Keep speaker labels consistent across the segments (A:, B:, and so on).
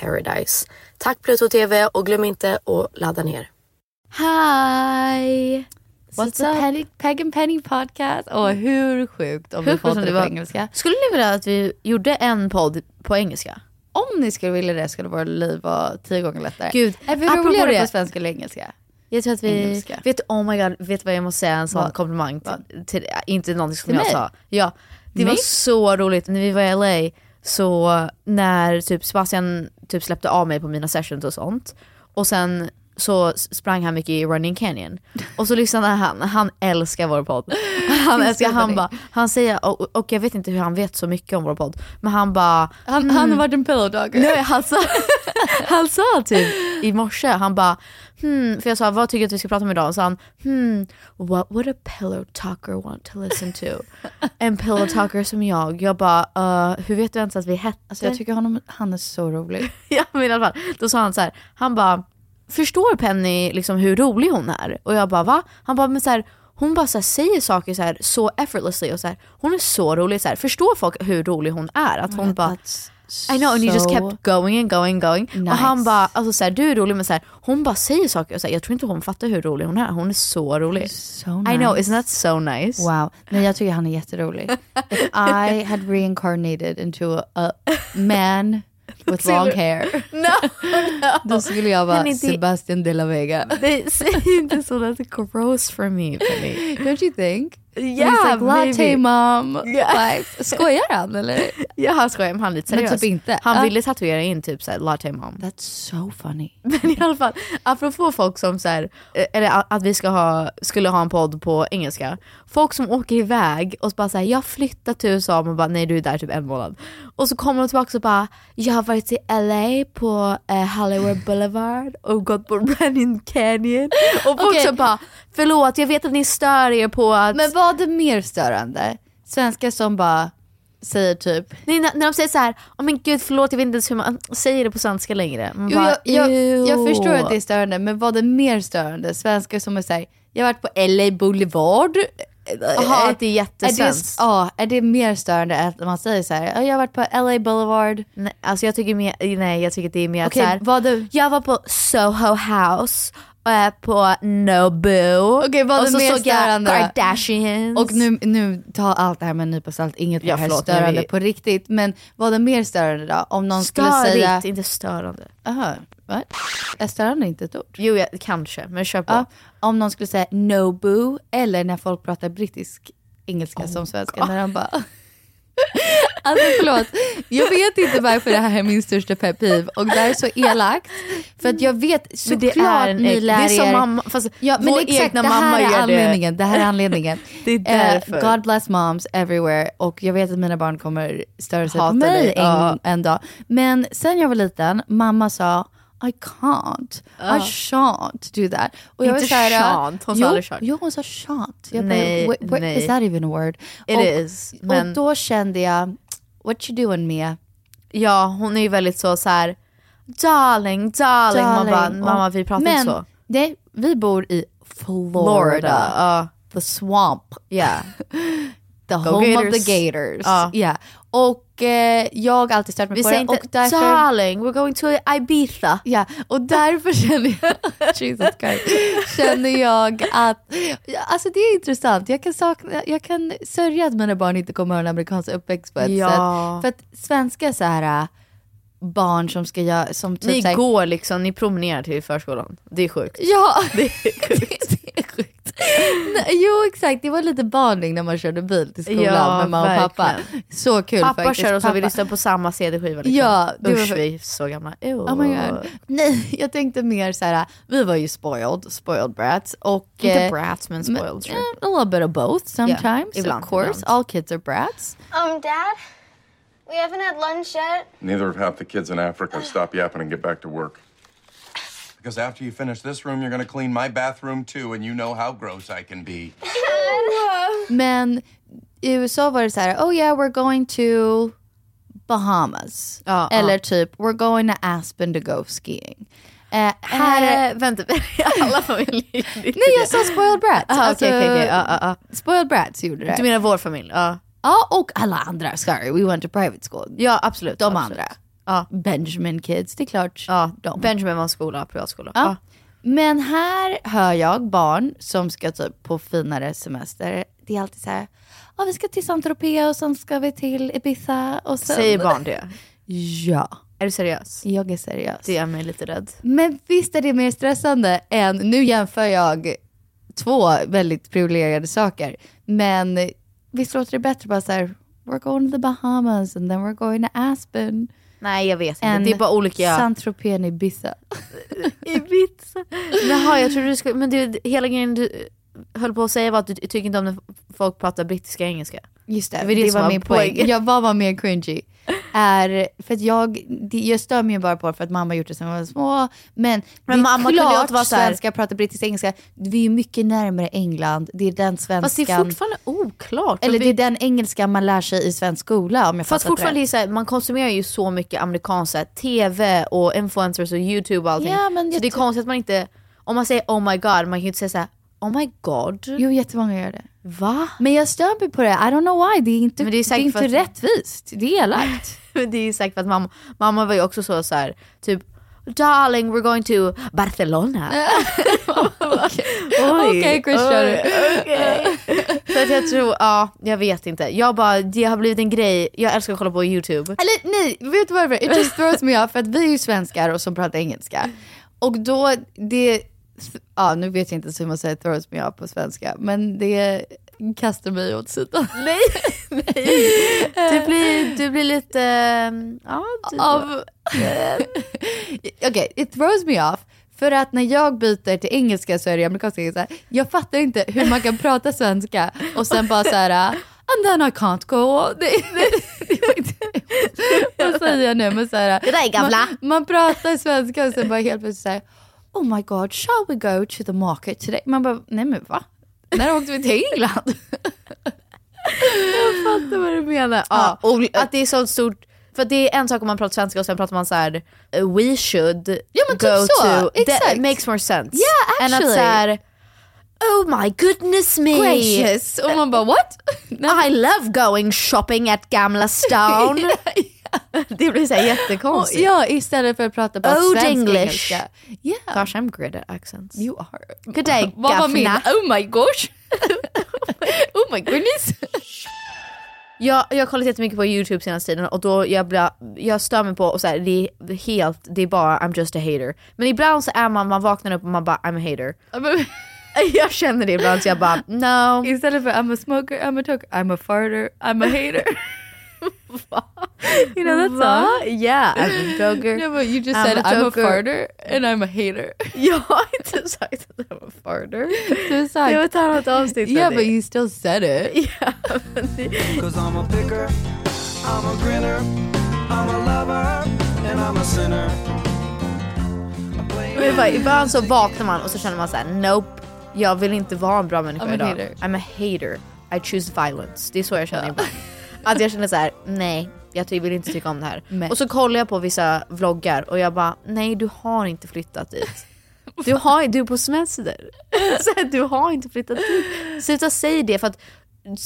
A: paradise. Tack Pluto TV och glöm inte att ladda ner.
B: Hi!
C: What's
B: What's up?
C: up?
B: Penny, Peg and Penny podcast. Åh, hur sjukt om vi
C: sjukt
B: pratar
C: om
B: det
C: det
B: på
C: var-
B: engelska.
C: Skulle ni vilja att vi gjorde en podd på engelska?
B: Om ni skulle vilja det skulle våra liv vara tio gånger lättare.
C: Gud,
B: är vi
C: apropå
B: roligare
C: det.
B: på svenska eller engelska?
C: Jag tror att vi,
B: Engelska.
C: vet oh my god, vet du vad jag måste säga? En sån
B: Vad?
C: komplimang till, till, inte någonting som
B: Till
C: jag
B: mig?
C: sa. Ja, det var
B: Nej.
C: så roligt när vi var i LA, så när typ Sebastian typ släppte av mig på mina sessions och sånt, och sen så sprang han mycket i Running Canyon. Och så lyssnade han, han älskar vår podd. Han älskar, han bara, han säger, och, och jag vet inte hur han vet så mycket om vår podd, men han bara,
B: Han, han har varit en pillowdogger.
C: Mm. Nej han sa, han sa typ i morse, han bara hmm, för jag sa vad tycker du att vi ska prata om idag? Och sa han hmm, what would a pillow talker want to listen to? En pillow talker som jag, jag bara "Uh, hur vet du ens att vi hette?
B: Alltså, jag tycker honom, han är så rolig.
C: ja, men i alla fall, då sa han så här, han bara förstår Penny liksom hur rolig hon är? Och jag bara va? Han bara men så här, hon bara så här, säger saker så, här, så effortlessly och så här, hon är så rolig så här, förstår folk hur rolig hon är? Att hon bara
B: That's
C: I know and you just
B: so-
C: kept going and going going.
B: Nice.
C: Och han bara, alltså såhär, du är rolig men såhär, hon bara säger saker och såhär, jag tror inte hon fattar hur rolig hon är. Hon är så rolig.
B: So
C: I know,
B: nice.
C: isn't that so nice?
B: Wow, nej jag tycker han är jätterolig. If I had reincarnated into a, a man with long hair,
C: No!
B: då skulle jag vara
C: Men inte-
B: Sebastian de la Vega.
C: They say inte så, that's gross for me Penny.
B: Don't you think? He's
C: Yeah,
B: like, latte
C: maybe.
B: mom.
C: Yeah.
B: vibes. Skojar han eller?
C: Ja han skojar, men han är lite
B: Men
C: seriös.
B: typ inte.
C: Han
B: Ja.
C: ville tatuera in typ såhär latte mom.
B: That's so funny.
C: Men i alla fall, apropå folk som så här, eh, eller a- att vi ska ha, skulle ha en podd på engelska. Folk som åker iväg och bara säger jag flyttar till USA, man bara nej du är där typ en månad. Och så kommer de tillbaka och bara “Jag har varit i LA på eh, Hollywood Boulevard och gått på Running Canyon” och folk
B: Okej.
C: så bara “Förlåt, jag vet att ni stör er på att...”
B: Men var det mer störande? Svenskar som bara säger typ
C: Nej, när, när de säger så här, åh men gud förlåt jag vet inte ens hur man säger det på svenska längre. Man
B: Jo,
C: bara,
B: jag, jag, jag
C: "Ew."
B: förstår att det är störande, men var det mer störande? Svenskar som är såhär, jag har varit på LA Boulevard.
C: Jaha, att det är
B: Är det,
C: jättesvenskt.
B: ja, är det mer störande än att man säger så här, "Ja, jag har varit på LA Boulevard.
C: Nej, alltså jag tycker, mer, nej, jag tycker det är mer
B: Okej,
C: så här,
B: vad du-
C: jag var på Soho House, eh, på Nobu,
B: Okej, vad
C: och
B: du
C: så
B: mer
C: såg jag
B: störande då?
C: Kardashians.
B: Och nu, nu ta allt det här med en nypa salt, inget
C: Ja,
B: var här
C: förlåt, men
B: störande
C: vi-
B: på riktigt. Men var det mer störande då? Om någon skulle
C: Störigt,
B: säga...
C: inte störande.
B: Aha, va? Är störande inte ett ord?
C: Jo jag, kanske, men kör på.
B: Ja, om någon skulle säga no boo eller när folk pratar brittisk engelska
C: Oh
B: som svenska. När de bara... Alltså förlåt, jag vet inte varför det här är min största pet peeve och det här är så elakt. För att jag vet
C: Men det
B: såklart
C: är en
B: ni
C: äck-
B: lär
C: det är som
B: er-
C: mamma- fast
B: ja, men
C: vår
B: exakt,
C: egna
B: det här
C: mamma
B: är
C: gör det.
B: anledningen. Det här är anledningen. Eh,
C: Det är därför.
B: God bless moms everywhere och jag vet att mina barn kommer störa sig på
C: Hata
B: mig
C: dig,
B: en,
C: ja.
B: en dag. Men sen jag var liten, mamma sa I can't, I shan't do that. Och jag
C: Inte
B: var så här,
C: shan't, hon sa
B: jo,
C: aldrig shan't.
B: Jo, hon sa shan't. Jag
C: Nej,
B: bara, "Wh- wh-
C: nej.
B: Is that even a word?
C: It
B: och,
C: is, men-
B: och då kände jag, what you doing Mia?
C: Ja hon är ju väldigt så, så här. Darling, darling, man bara,
B: Darling,
C: mamma
B: och-
C: vi pratar
B: men,
C: inte så.
B: Det, vi bor i Florida.
C: Florida, ja.
B: The swamp.
C: Yeah.
B: The home of
C: Gators.
B: the gators.
C: Ja.
B: Ja. Och eh, jag har alltid stört mig
C: Vi
B: på
C: säger
B: det.
C: inte
B: och därför,
C: darling, we're going to Ibiza.
B: Ja, och därför känner jag, Jesus Christ, känner jag att, ja, alltså det är intressant, jag kan, sakna, jag kan sörja att mina barn inte kommer ha en amerikansk uppväxt på ett
C: Ja.
B: sätt. För att svenska så här äh, barn som ska göra, som typ
C: Ni
B: så här,
C: går liksom, ni promenerar till förskolan. Det är sjukt.
B: Ja, det är sjukt. det är sjukt. Nej, jo exakt, det var lite barning när man körde bil till skolan
C: Ja,
B: med mamma och pappa.
C: verkligen.
B: Så kul
C: Pappa
B: faktiskt.
C: kör och så vi lyssnar på samma CD-skiva. Liksom.
B: Ja, det var
C: Usch,
B: för-
C: vi är så gamla. Ew.
B: Oh my god. Nej, jag tänkte mer så här, vi var ju spoiled, spoiled brats. Och,
C: Inte
B: eh,
C: brats men
B: men-
C: spoiled. sure.
B: eh, a little bit of both sometimes,
C: ibland,
B: of course.
C: ibland.
B: All kids are brats.
D: Um, Dad, we haven't had lunch yet.
E: Neither have half the kids in Africa. Stop yapping and get back to work. Because after you finish this room, you're going to clean my bathroom too, and you know how gross I can be.
B: Men i USA var det så här, oh yeah we're going to Bahamas.
C: Ja,
B: Eller typ, we're going to Aspen to go skiing. Eh, här,
C: Eh, vänta, alla familjer.
B: nej jag sa spoiled brats. Alltså,
C: Aha, okej, okej, okej. Ja, ja,
B: Spoiled brats gjorde det.
C: Du menar vår familj? Ja,
B: Ja, och alla andra. Sorry, we went to private school.
C: ja absolut.
B: de
C: absolut.
B: andra. Benjamin kids, det är klart.
C: Ja,
B: de.
C: Benjamin var en skola, privatskola.
B: Ja.
C: Ja.
B: Men här hör jag barn som ska typ på finare semester. Det är alltid så här, ja vi ska till Saint Tropez och sen ska vi till Ibiza. Och sen...
C: Säger barn det?
B: Ja,
C: Är du seriös?
B: jag är seriös.
C: Det gör mig lite rädd.
B: Men visst är det mer stressande än, nu jämför jag två väldigt privilegierade saker, men visst låter det bättre bara så här, we're going to the Bahamas and then we're going to Aspen.
C: Nej jag vet inte,
B: and
C: det är bara olika...
B: Saint Tropez and Ibiza.
C: Ibiza. Jaha, jag trodde du skulle... Men du, hela grejen du höll på att säga var att du tycker inte om när folk pratar brittiska och engelska.
B: Just det,
C: Det var
B: det,
C: det som
B: var
C: var
B: min poäng.
C: poängen.
B: Jag, vad var mer cringy? Är, för att jag, det, jag stör mig ju bara på det för att mamma har gjort det sen vi var små. Men, det är
C: mamma kunde ju
B: klart
C: inte vara så här-
B: svenska pratar brittisk engelska. Vi är ju mycket närmare England. Det är den svenskan.
C: Fast det är fortfarande oklart.
B: Eller
C: För
B: det är den engelska man lär sig i svensk skola om Alltså, jag
C: Fast
B: fattat
C: fortfarande är det så här, man konsumerar ju så mycket amerikanskt, så här, tv och influencers och youtube och allting.
B: Ja, men
C: så
B: jag
C: det är
B: ty-
C: konstigt att man inte, om man säger oh my god, man kan ju inte säga så här, oh my god.
B: rätt. Jo, jättemånga gör det.
C: Va?
B: Men jag stör mig på det. I don't know why. Det är inte,
C: Men
B: det
C: det är
B: är
C: säkert
B: inte
C: för att-
B: rättvist. Det är elakt.
C: Men det är ju säkert för att mamma, mamma var ju också så, så här, typ darling we're going to Barcelona. Oj,
B: Okej, Chris
C: oj,
B: Jenner.
C: okej. För att jag tror, ja jag vet inte. Jag bara, det har blivit en grej, jag älskar att kolla på youtube.
B: Eller nej, vet du varför? It just throws me off för att vi är ju svenskar och som pratar engelska. Och då, det, ja nu vet jag inte så hur man säger throws me off på svenska, men det kastar mig åt sidan. Nej,
C: Du blir, du blir lite, eh, ja du,
B: Av, eh, okej, it throws me off. För att när jag byter till engelska så är det amerikanska engelska. Jag fattar inte hur man kan prata "Ah, svenska och sen bara så här, and then I can't go. Det, det, det, Vad säger jag nu? Men så här,
C: Det där är gamla.
B: Man, man pratar svenska och sen bara helt plötsligt så här, oh my god, shall we go to the market today? Man bara, nej men va? När åkte vi till England?
C: Jag fattar vad du menar. Ja, och att det är så stort, för det är en sak om man pratar svenska och sen pratar man så här: we should
B: Ja, men
C: go
B: typ så.
C: to,
B: Exakt.
C: that makes more sense.
B: Yeah,
C: Än att
B: actually.
C: så här, oh my goodness me.
B: Gracious. Och man bara, what? Nej,
C: I love going shopping at Gamla stan. Det blir så här jättekonstigt.
B: ja, istället för att prata bara
C: Old
B: svensk
C: English.
B: engelska. Yeah.
C: Gosh I'm great at accents.
B: You are.
C: Good day,
B: Vad var min?
C: gaffna.
B: Oh my gosh. oh my goodness.
C: Jag, jag har kollat jättemycket på YouTube senaste tiden och då jag, blir, jag stör mig på, och så här, det är helt, det är bara I'm just a hater. Men ibland så är man, man vaknar upp och man bara I'm a hater. Jag känner det ibland så jag bara no.
B: Istället för I'm a smoker, I'm a talker, I'm a farter, I'm a hater. you know that song?
C: Va? Yeah, I'm a joker.
B: Yeah, but you just
C: I'm
B: said
C: a
B: I'm a
C: joker.
B: farter and I'm a hater.
C: Jag har inte sagt att I'm a farter.
B: Du sa-
C: Det var ett annat avsnitt.
B: yeah,
C: hörni.
B: but you still said it.
C: Ja, men det-
F: Cause I'm a picker, I'm a grinner, I'm a lover, and I'm a sinner.
C: Men bara, ibland så vaknar man och så känner man så här: nope, jag vill inte vara en bra människa
B: I'm a
C: idag.
B: hater.
C: I'm a hater. I choose violence. Det är så jag känner ibland. Att jag känner så här: nej, jag ty- vill inte tycka om det här.
B: Nej.
C: Och så kollar jag på vissa vloggar och jag bara, nej du har inte flyttat dit. Du, har, du är på semester. Så här, du har inte flyttat dit. Sluta säga det för att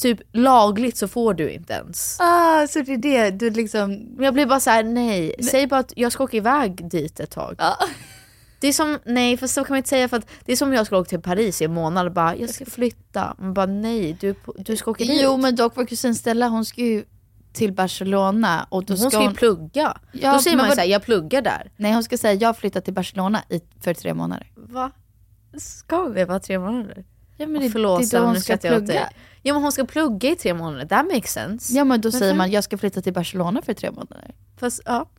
C: typ lagligt så får du inte ens.
B: Ah, så det är det du liksom...
C: Men jag blir bara så här: nej, säg bara att jag ska åka iväg dit ett tag. Det är som, nej för så kan man inte säga för att det är som om jag skulle åka till Paris i en månad och bara jag ska flytta. Man bara nej, du, är på- du ska åka dit.
B: Jo men dock vår kusin Stella hon ska ju till Barcelona och då
C: hon ska ju plugga.
B: Ja,
C: Då
B: men
C: säger man ju
B: vad-
C: såhär, jag pluggar där.
B: Nej hon ska säga jag flyttar till Barcelona i, för tre månader.
C: Va? Ska vi vara tre månader?
B: Ja
C: Men det, Förlåt det är då hon ska plugga. Ja men hon ska plugga i tre månader, that makes sense.
B: Ja men då säger
C: fan-
B: man jag ska flytta till Barcelona för tre månader.
C: Fast, ja.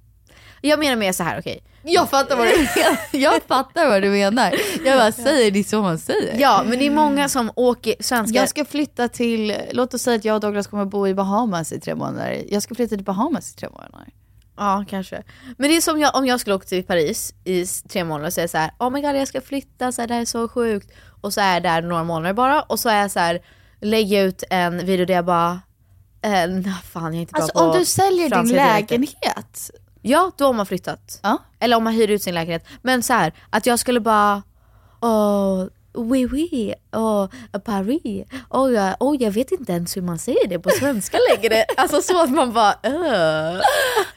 C: Jag menar mer så här, okej.
B: Jag fattar vad du menar. jag fattar vad du menar. Jag bara säger det så man säger.
C: Ja men det är många som åker, svenskar.
B: Jag ska flytta till, låt oss säga att jag och Douglas kommer att bo i Bahamas i tre månader. Jag ska flytta till Bahamas i tre månader.
C: Ja kanske. Men det är som jag, om jag skulle åka till Paris i s- tre månader och säga så här: oh my god jag ska flytta, så här, det här är så sjukt. Och så är jag där några månader bara och så är jag så här, lägger jag ut en video där jag bara, eh, na, fan jag är inte bra
B: Alltså
C: på
B: om du säljer din
C: franska dialekter."
B: lägenhet.
C: Ja då har man flyttat.
B: Ja.
C: Eller om man hyr ut sin lägenhet. Men så här, att jag skulle bara, åh, oui oui, åh, Paris, åh jag, åh, jag vet inte ens hur man säger det på svenska längre. alltså så att man bara, öh.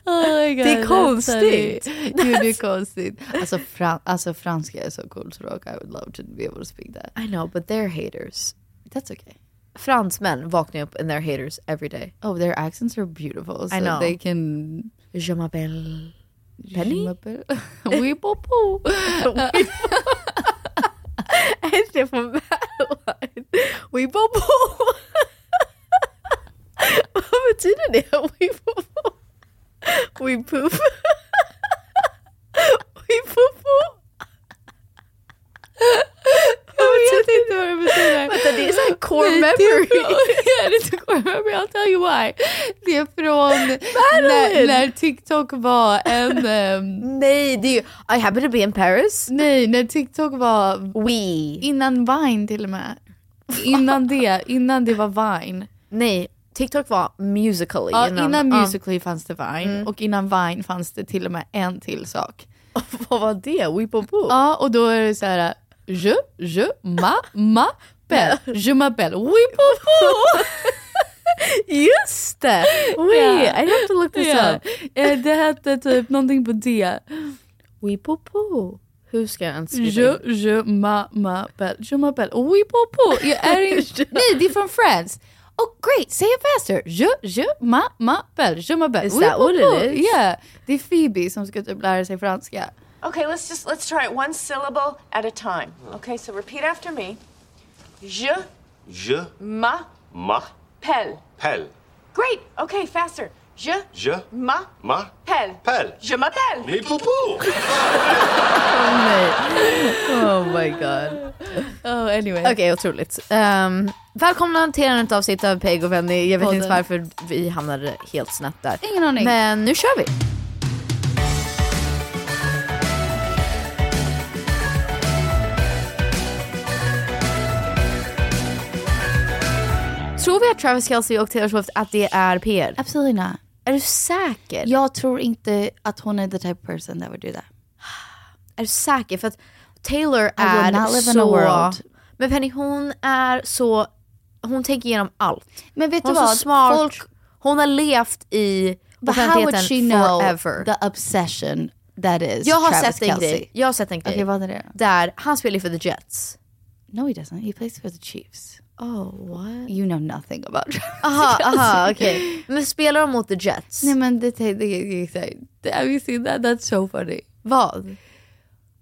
B: Oh my God,
C: Det är konstigt.
B: Gud det är konstigt. Alltså, fran- alltså franska är så coolt språk. I would love to be able to speak that.
C: I know but they're haters.
B: That's okay.
C: fransmän vaknar upp and they're haters every day.
B: Oh, their accents are beautiful. So
C: I know.
B: They can.
C: Je m'appelle Penny.
B: Oui, popo.
C: Är det från Valorant? Oui bobo. Vad betyder det? Oui bobo. Oui poop. Oui bobo. Jag vet inte vad det betyder. Vänta det är såhär core memory.
B: Ja, det är så coolt. Men I'll tell you why. Det är från
C: Marilyn!
B: när, när TikTok var en... ehm,
C: Nej det är ju I happen to be in Paris.
B: nej, när TikTok var
C: We.
B: innan Vine till och med. Innan det, innan det var Vine.
C: Nej, TikTok var musically
B: Ja, innan,
C: ja. Mm.
B: Musical.ly fanns det Vine och innan Vine fanns det till och med en till sak.
C: Vad var det? Weepopo?
B: Ja, och då är det så här, je, je, ma, ma, belle, je m'appelle, oui, popo.
C: Just det! Wait,
B: Yeah.
C: I have to look this
B: Ja.
C: up.
B: Eh, Det hette typ någonting på D.
C: Weepopo. Hur ska jag ens skriva
B: Je,
C: in?
B: je, ma, ma, belle, je m'appelle, oui, popo. Jag är inte- Nej, det är från Friends. Oh great, say it faster! Je, je, ma, ma, belle, je m'appelle,
C: Is that what it
B: popo.
C: is?
B: Yeah, det är Phoebe som ska typ lära sig franska.
G: Okay, let's just let's try it one syllable at a time. Okay, so repeat after me. Je
F: Je
G: m'appelle.
F: m'appelle.
G: Great. Okay, faster. Je
H: Je
G: m'appelle.
H: ma
G: Je m'appelle.
H: les poupous.
C: Oh my god. Oh, anyway. Okej, otroligt. Ehm, välkomna till ännu ett avsnitt av Peg och Wendy. Jag vet
B: Podden.
C: inte varför vi hamnade helt snett där.
B: Ingen aning.
C: Men nu kör vi. Tror vi att Travis Kelce och Taylor Swift att det är PR?
B: Absolutely not.
C: Är du säker?
B: Jag tror inte att hon är the type of person that would do that.
C: Är du säker? För att Taylor
B: I will
C: är
B: not live in a
C: så...
B: world.
C: Men Penny hon är så... Hon tänker igenom allt.
B: Men vet
C: hon
B: du
C: är så
B: vad?
C: Smart.
B: Folk-
C: Hon har levt i
B: But how would she
C: offentligheten
B: know
C: forever.
B: the obsession that is
C: Jag har
B: Travis
C: sett en
B: Kelce?
C: grej. Jag har sett en grej.
B: Okej, vad är det?
C: Där, han spelar ju för the Jets.
B: No he doesn't. He plays for the Chiefs.
C: Oh what?
B: You know nothing about Travis
C: Aha,
B: Kelce.
C: aha, okej. Men spelar de mot the Jets?
B: Nej men det det- det- det- det- Have you seen that? That's so funny. Vad?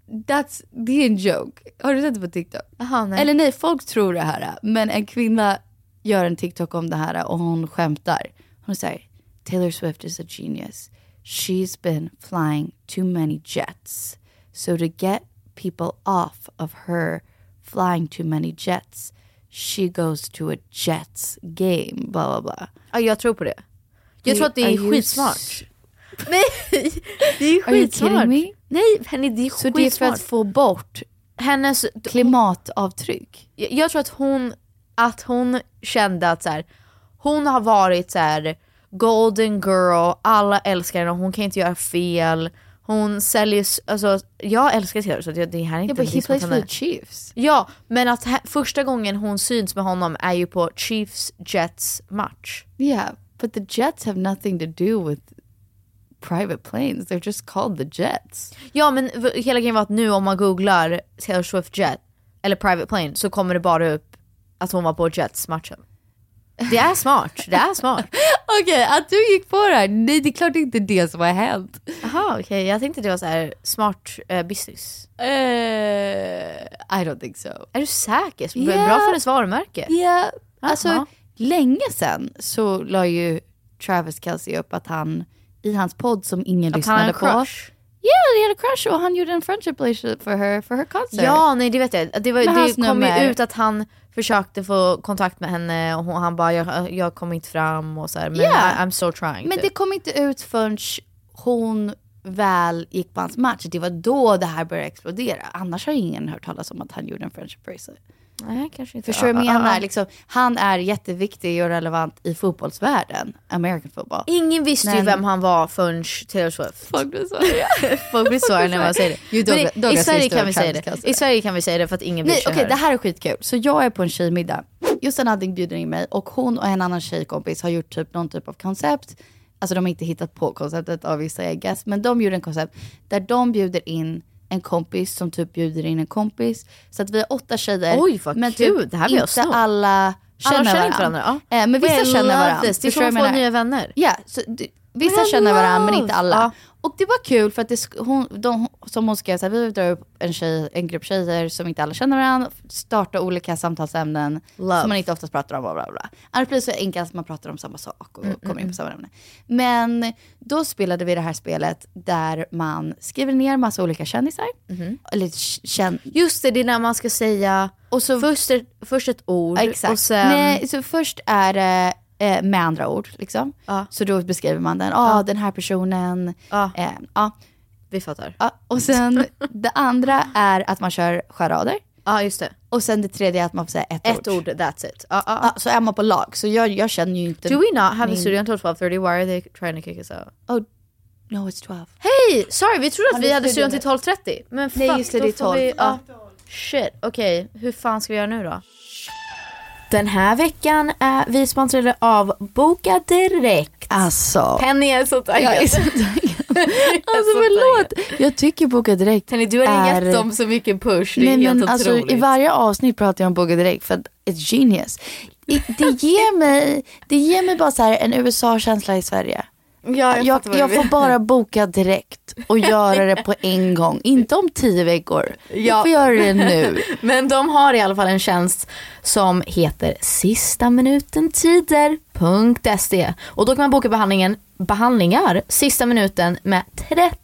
B: That's, det är en joke. Har du sett det på TikTok?
C: Aha, nej.
B: Eller nej, folk tror det här. Men en kvinna gör en TikTok om det här och hon skämtar. Hon säger, Taylor Swift is a genius. She's been flying too many jets. So to get people off of her flying too many jets, she goes to a jets game. Blah, blah, blah.
C: Ja, jag tror på det. Jag tror att det
B: Are
C: är
B: you
C: skitsmart. Nej, det är
B: Are you
C: skitsmart.
B: kidding me?
C: Nej, Penny, det är
B: Så det är för att
C: skitsmart.
B: få bort
C: Hennes
B: klimatavtryck?
C: jag, jag tror att hon, att hon kände att så här, hon har varit så här, golden girl, alla älskar henne, hon kan inte göra fel. Hon säljer, alltså jag älskar Taylor så det det här är inte
B: Ja, but
C: en
B: he
C: diss mot
B: plays for
C: henne.
B: the Chiefs.
C: Ja, men att he- första gången hon syns med honom är ju på Chiefs Jets match.
B: Yeah, but the Jets have nothing to do with private planes. They're just called the Jets.
C: Ja men v- hela grejen var att nu om man googlar Taylor Swift Jet eller Private Plane så kommer det bara upp att hon var på Jets matchen. Det är smart, det är smart.
B: Okej, att du gick på det här. Nej, det är klart inte det som har hänt.
C: Jaha okej, jag tänkte det var så här smart eh, business.
B: Eh, I don't think so.
C: Är du säker? Bra
B: Yeah.
C: för hennes varumärke.
B: Ja, alltså
C: Aha.
B: länge sedan så la ju Travis Kelce upp att han i hans podd som ingen
C: Att han
B: lyssnade
C: hade
B: på.
C: crush.
B: Ja, yeah, han hade crush och han gjorde en friendship relationship för her, för her concert.
C: Ja, nej det vet jag. Det, var,
B: Med
C: det
B: hans
C: kom ju
B: nummer.
C: ut att han försökte få kontakt med henne och hon, han bara jag, jag kom inte fram och så här, men
B: Yeah.
C: I, I'm so trying.
B: Men
C: typ.
B: det kom inte ut förrän hon väl gick på hans match. Det var då det här började explodera. Annars har ingen hört talas om att han gjorde en friendship racer.
C: Nej, kanske inte.
B: Förstår du vad
C: Ja,
B: jag
C: ja,
B: menar?
C: ja.
B: Liksom, han är jätteviktig och relevant i fotbollsvärlden. American football.
C: Ingen visste ju
B: Men-
C: vem han var förrän Taylor Swift.
B: Folk blir såriga.
C: Folk blir såriga när man säger det.
B: Jo,
C: Men
B: Douglas-
C: i- I
B: Douglas
C: Sverige
B: visste
C: kan vi
B: vem
C: säga
B: Travis Kelce
C: det.
B: är.
C: I Sverige kan vi säga det för att ingen bryr
B: Nej,
C: sig.
B: okej, det här är skitkul. Så jag är på en tjejmiddag. Just den hade en bjuden in mig och hon och en annan tjejkompis har gjort typ någon typ av koncept. Alltså de har inte hittat på konceptet av vissa I guess, men de gjorde en koncept där de bjuder in en kompis som typ bjuder in en kompis. Så att vi är åtta tjejer.
C: Oj, vad
B: men typ
C: kul. Det här vill jag
B: inte
C: sno.
B: alla känner
C: Alla känner
B: varandra.
C: inte varandra, ja.
B: Eh, men vissa
C: I
B: känner
C: love
B: varandra.
C: this. Det är
B: Förstår
C: så
B: du
C: man
B: vad
C: får
B: jag menar?
C: nya vänner.
B: Ja, så, d- vissa
C: Men I
B: känner varandra men inte
C: love.
B: alla.
C: Ja.
B: Och det var kul för att det, sk- hon, de, som hon skrev, så här, vi drar upp en, tjej, en grupp tjejer som inte alla känner varandra, starta olika samtalsämnen
C: Love.
B: som man inte oftast pratar om. Bla bla bla. Annars blir det så enkelt att man pratar om samma sak
C: Mm,
B: och kommer in på samma ämne. Men då spelade vi det här spelet där man skriver ner massa olika kändisar.
C: Mm-hmm.
B: Eller k- känn...
C: Just det, det är när man ska säga först, ett, först ett ord
B: Ja, exakt.
C: och sen...
B: Nej, så först är det eh, med andra ord. Liksom. Så då beskriver man den. Ja, den här personen.
C: Ja.
B: Eh, ja.
C: Vi fattar.
B: Ja, och sen det andra är att man kör charader.
C: Ja, just det.
B: Och sen det tredje är att man får säga ett,
C: Ett ord, that's it. Ja, ja, ja.
B: Ja, så är man på lag. Så jag, jag känner ju inte...
C: Do we not have a
B: min-
C: studio until 12.30? Why are they trying to kick us out?
B: Oh, no it's 12.
C: Hej! Sorry, vi trodde att vi hade studion
B: studion
C: till 12.30. Men fuck,
B: Nej, just det,
C: då
B: det är
C: får
B: 12.
C: vi- ja. Shit, okej. Hur fan ska vi göra nu då? Den här veckan är vi sponsrade av Boka Direkt.
B: Alltså,
C: Penny är så taggad.
B: Jag är så alltså förlåt. Jag tycker Boka Direkt
C: Penny, du har
B: är...
C: gett dem så mycket push. Det är
B: Nej,
C: helt
B: men alltså,
C: otroligt.
B: I varje avsnitt pratar jag om Boga Direkt för att it's genius. I, det, ger mig, det ger mig bara så här en USA-känsla i Sverige.
C: Ja, jag
B: jag
C: fattar vad du
B: får
C: menar.
B: bara boka direkt och göra det på en gång. Inte om tio veckor.
C: Ja.
B: Jag får göra det nu.
C: Men de har i alla fall en tjänst som heter sistaminutentider.se och då kan man boka behandlingen behandlingar sista minuten med 30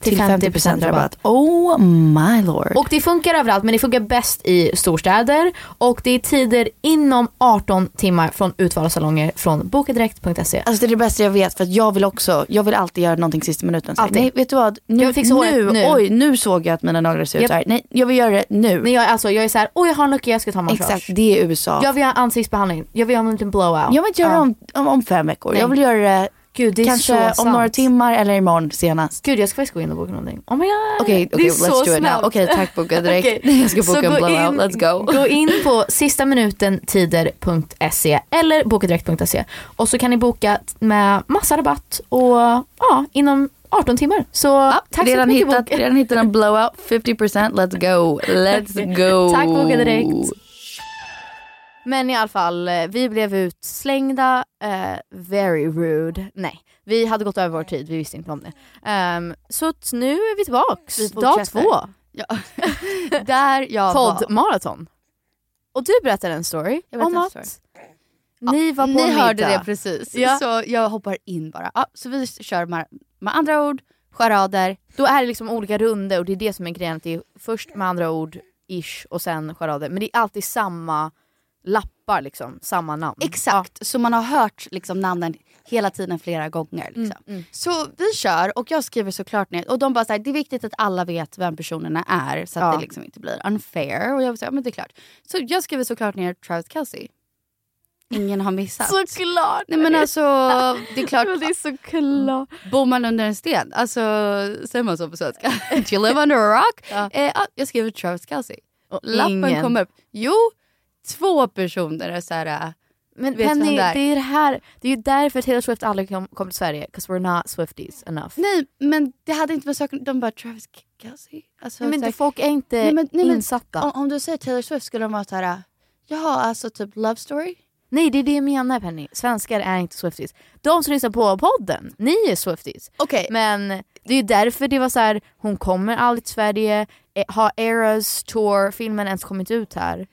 C: till 50% rabatt.
B: Oh my lord.
C: Och det funkar överallt men det funkar bäst i storstäder och det är tider inom 18 timmar från utvalda salonger från bokadirekt.se.
B: Alltså det är det bästa jag vet för att jag vill också, jag vill alltid göra någonting sista minuten. Så här,
C: Alltid.
B: Nej vet du vad,
C: Jag
B: nu,
C: vill fixa
B: nu,
C: håret nu.
B: oj nu såg jag att mina naglar ser ut
C: Japp.
B: så här. Nej jag vill göra det nu.
C: Men jag, är alltså, jag är så här, åh jag har en lucka, jag ska ta en massage.
B: Exakt, det är USA.
C: Jag vill ha ansiktsbehandling, jag vill ha en liten blowout.
B: Jag vill inte göra det om, om, om fem veckor,
C: Nej.
B: jag vill göra det
C: Gud, det är
B: kanske
C: så
B: om
C: sant.
B: några timmar eller imorgon senast.
C: Gud jag ska faktiskt gå in och boka någonting. Oh my god.
B: Okej,
C: Det
B: okej,
C: är
B: let's
C: så
B: do it now.
C: snabbt.
B: Okej, tack, boka direkt.
C: Okej.
B: Jag ska boka
C: Så
B: en
C: gå
B: blowout.
C: in-
B: Let's go.
C: Gå in på sistaminutentider.se eller bokadirekt.se och så kan ni boka t- med massa rabatt och ja, inom 18 timmar. Så tack så
B: redan
C: mycket
B: hittat,
C: Boka-
B: redan hittat en blowout, 50% let's go, let's go.
C: Tack Boka Direkt. Men i alla fall, eh, vi blev utslängda, eh, very rude. Nej, vi hade gått över vår tid, vi visste inte om det. Ehm, så att nu är vi tillbaks,
B: Vi
C: dag
B: fortsätter.
C: två.
B: Ja. Där jag var.
C: Poddmaraton. Och du berättade en story
B: Jag berättade
C: om
B: en
C: att
B: story.
C: ni var på
B: Ni
C: middag.
B: hörde det precis,
C: Ja.
B: så jag hoppar in bara. Ja, så vi kör med, med andra ord, charader.
C: Då är det liksom olika runder och det är det som är grejen. att Det är först med andra ord, ish, och sen charader. Men det är alltid samma lappar liksom, samma namn.
B: Exakt, så man har hört liksom, namnen hela tiden flera gånger. Liksom.
C: Mm,
B: Så vi kör och jag skriver såklart ner. Och de bara såhär, det är viktigt att alla vet vem personerna är så att
C: Ja.
B: det liksom inte blir unfair. Och jag säger, men det är klart. Så jag skriver såklart ner Travis Kelce. Ingen har missat.
C: Såklart!
B: Nej men alltså, det är klart.
C: Men det är såklart.
B: Bor man under en sten? Alltså, säger man så på svenska? Do you live under a rock?
C: Ja.
B: Eh, ja, jag skriver Travis Kelce.
C: Och
B: Lappen
C: ingen-
B: kommer upp. Jo, två personer är såhär...
C: Men
B: Vet
C: Penny,
B: vem
C: det
B: det är?
C: är det här. Det är ju därför Taylor Swift aldrig kom, kom till Sverige. 'Cause we're not Swifties enough.
B: Nej, men det hade inte varit saken. De bara Travis Kelce. Alltså,
C: Nej, men
B: så här-
C: det, folk är inte
B: Nej, men- nej, men-
C: insatta.
B: om, om du säger Taylor Swift skulle de vara så här, jaha alltså typ Love Story?
C: Nej det är det jag menar Penny. Svenskar är inte Swifties. De som lyssnar på podden, ni är Swifties.
B: Okej,
C: Men det är ju därför det var så här, hon kommer aldrig till Sverige. Eh, Har Eras Tour, filmen ens kommit ut här?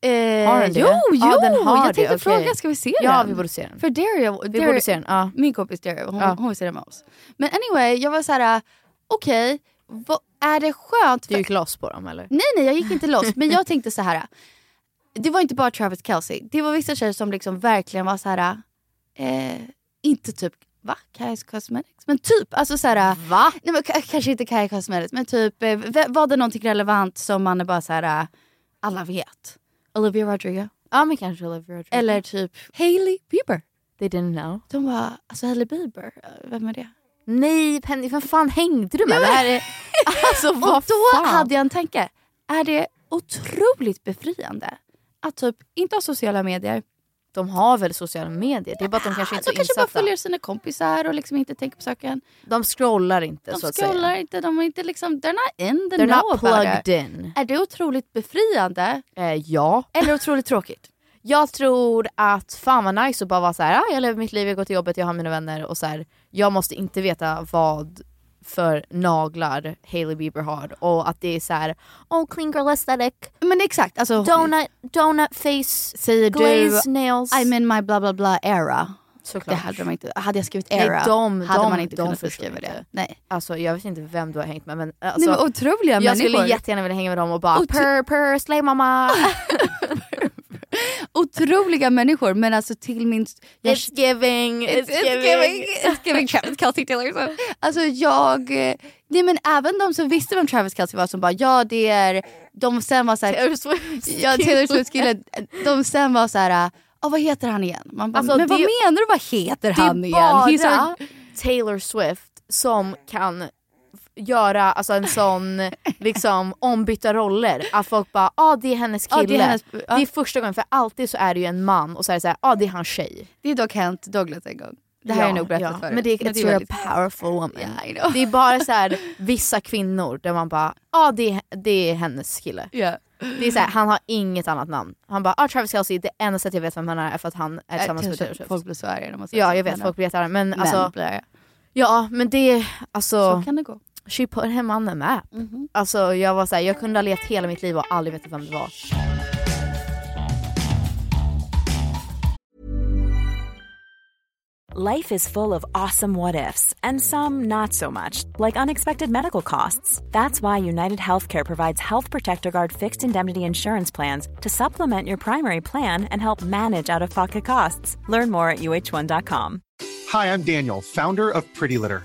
B: eh,
C: har den det?
B: jo,
C: Ja,
B: jo,
C: den har
B: jag
C: det,
B: tänkte
C: okej.
B: fråga, ska vi se
C: Ja
B: den?
C: vi borde se den.
B: För Dario,
C: Vi borde se den. Ja.
B: min kompis Dario, hon,
C: Ja.
B: hon vill se den med oss. Men anyway, jag var så här, okej, vad är det skönt?
C: Du
B: För,
C: gick loss på dem eller?
B: nej nej, jag gick inte loss, men jag tänkte så här. Det var inte bara Travis Kelce, det var vissa tjejer som liksom verkligen var så här, eh, inte typ, va? Kaja Cosmetics? Men typ, alltså så här.
C: Va?
B: Nej, men, k- kanske inte Kaja Cosmetics, men typ eh, v- var det någonting relevant som man är bara så här, eh, alla vet? Olivia Rodrigo?
C: Ja men kanske Olivia Rodrigo.
B: Eller typ Hailey Bieber?
C: They didn't know.
B: De bara, alltså Hailey Bieber, eh, vem är det?
C: Nej Penny, vem fan hängde du med? Det här är... Alltså
B: Och
C: vad
B: då
C: fan?
B: hade jag en tanke, är det otroligt befriande att typ inte ha sociala medier?
C: De har väl sociala medier? Det är bara att de Alltså, kanske inte är
B: de
C: så
B: Alltså, kanske bara
C: insatta.
B: följer sina kompisar och liksom inte tänker på saken.
C: De scrollar inte
B: De
C: så att
B: scrollar
C: säga.
B: inte, de är inte liksom, they're not in the
C: They're
B: know
C: not
B: about
C: plugged
B: it.
C: in.
B: Är det otroligt befriande
C: Eh, ja.
B: eller otroligt tråkigt?
C: Jag tror att fan vad nice att bara vara så här, ah, jag lever mitt liv, jag går till jobbet, jag har mina vänner och så här, jag måste inte veta vad för naglar Hailey Bieber har och att det är så här, oh clean girl aesthetic,
B: Men exakt, alltså
C: donut, donut face,
B: säger
C: glazed
B: du
C: nails.
B: I'm in my bla bla bla era. Det
C: Såklart.
B: hade, de inte, hade jag skrivit
C: Nej,
B: era
C: de-
B: hade
C: de-
B: man inte
C: de
B: kunnat
C: förstår
B: beskriva
C: inte.
B: det. Nej.
C: Alltså jag vet inte vem du har hängt med men alltså,
B: Nej men otroliga
C: jag
B: människor.
C: skulle jättegärna vilja hänga med dem och bara
B: Otro-
C: purr purr slay mamma,
B: Otroliga människor men alltså till min... Jag,
C: it's giving, it's,
B: It's- it's
C: giving.
B: giving. It's giving Travis Kelce Taylor Swift. Alltså jag... eh, Nej men även de som visste vem Travis Kelce var som bara ja det är... De sen var såhär...
C: Taylor Swift.
B: Ja Taylor Swift kille. De sen var såhär... Ja vad heter han igen? Man bara,
C: Alltså,
B: men vad
C: det-
B: menar du vad heter
C: Det
B: han
C: är
B: igen? He's
C: bara
B: our-
C: Taylor Swift som kan f- göra alltså, en sån liksom, ombytta roller. Att folk bara ah, det är hennes
B: Ja,
C: kille.
B: det är hennes- ja.
C: Det är första gången för alltid så är det ju en man och så är det såhär ah, det är hans tjej.
B: Det är dock hänt Douglas en gång. Det här har
C: Ja,
B: jag nog berättat
C: ja.
B: förut.
C: Men det är, it's you're
B: väldigt-
C: a powerful woman.
B: Yeah, I know.
C: Det är bara så här, vissa kvinnor där man bara ah, det, är, det är hennes kille.
B: Ja.
C: Det är så här, han har inget annat namn. Han bara ah, Travis Kelce, det enda sättet jag vet vem han är är för att han är tillsammans med Taylor Swift.
B: Äh, Folk blir så arga när man säger
C: Ja
B: så.
C: jag vet,
B: Men,
C: folk blir jättearga men
B: men
C: alltså
B: blir arga.
C: Ja men det,
B: Så
C: alltså,
B: kan Mhm. det gå.
C: she put him on the map. Alltså jag var såhär, jag kunde ha levt hela mitt liv och aldrig vetat vem det var.
I: life is full of awesome what ifs and some not so much, like unexpected medical costs. That's why United Healthcare provides Health Protector Guard fixed indemnity insurance plans to supplement your primary plan and help manage out of pocket costs. Learn more at uh1.com.
H: Hi, I'm Daniel, founder of Pretty Litter.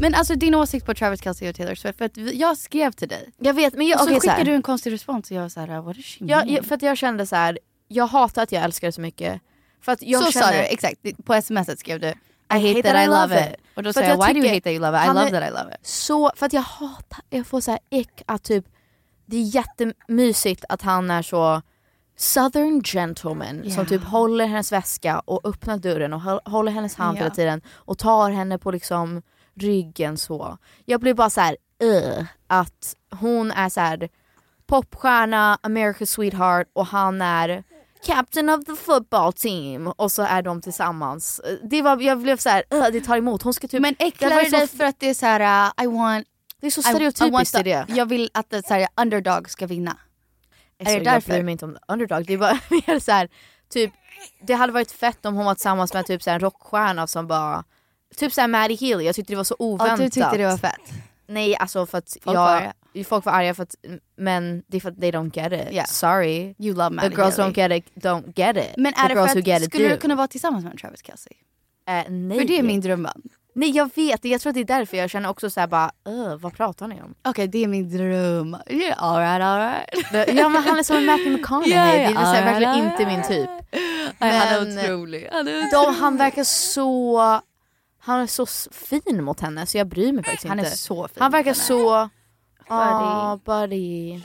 B: Men alltså din åsikt på Travis Kelce och Taylor Swift, för att vi- jag skrev till dig.
C: Jag vet men jag,
B: och så
C: okej, så
B: skickade
C: här.
B: du Mm. en konstig respons och jag var såhär, what does she
C: Jag,
B: mean?
C: jag, för att jag kände så här. jag hatar att jag älskar det så mycket. För att jag
B: så
C: känner,
B: sa du, exakt. På smset skrev du, I hate,
C: hate
B: that, I love it. Och då
C: För
B: sa
C: att
B: jag, why do you
C: tycker-
B: hate that you love it? I
C: han
B: love
C: är
B: that I love it.
C: Så, för att jag hatar, jag får så här ick att typ, det är jättemysigt att han är så southern gentleman
B: Ja.
C: som typ håller hennes väska och öppnar dörren och hå- håller hennes hand
B: Ja.
C: hela tiden och tar henne på liksom ryggen så. Jag blir bara så här, "Ugh", att hon är så här popstjärna, America's sweetheart och han är Captain of the football team och så är de tillsammans. Det var, jag blev så här, "Ugh, det tar emot. Hon ska typ... Men
B: äcklar det dig för att det är så här, I want...
C: Det är så
B: I, I want
C: stereotypiskt
B: the,
C: i det.
B: Jag vill att det, så här, underdog ska vinna.
C: Alltså,
B: är det
C: Jag bryr
B: därför?
C: mig inte om underdog. Det var mer så här, typ, det hade varit fett om hon var tillsammans med typ så här, en rockstjärna som bara, typ såhär Maddie Healy, jag tyckte det var så oväntat.
B: du tyckte det var fett?
C: Nej alltså för att
B: Folk
C: jag,
B: var arga.
C: folk var arga för att, men det är för att they don't get it.
B: Yeah.
C: Sorry.
B: You love Maddie
C: The girls
B: Healy.
C: don't get it, don't get it.
B: Men är
C: The
B: det
C: girls who
B: för
C: get
B: att,
C: it
B: skulle
C: do.
B: du kunna vara tillsammans med en Travis Kelce?
C: Eh, nej.
B: För det är min drömman.
C: Nej jag vet, jag tror att det är därför jag känner också såhär bara, "Ugh, vad pratar ni om?
B: Okej, det är min dröm. Yeah, all right, all right.
C: Ja men han är som en Matthew McConaughey, det är så här, verkligen inte min typ.
B: Nej, han är
C: Men,
B: otrolig. Han är
C: De,
B: otrolig.
C: han verkar så, han är så s- fin mot henne så jag bryr mig faktiskt
B: Han är
C: inte.
B: så fin
C: Han verkar
B: mot henne.
C: så,
B: Buddy.
C: ah buddy.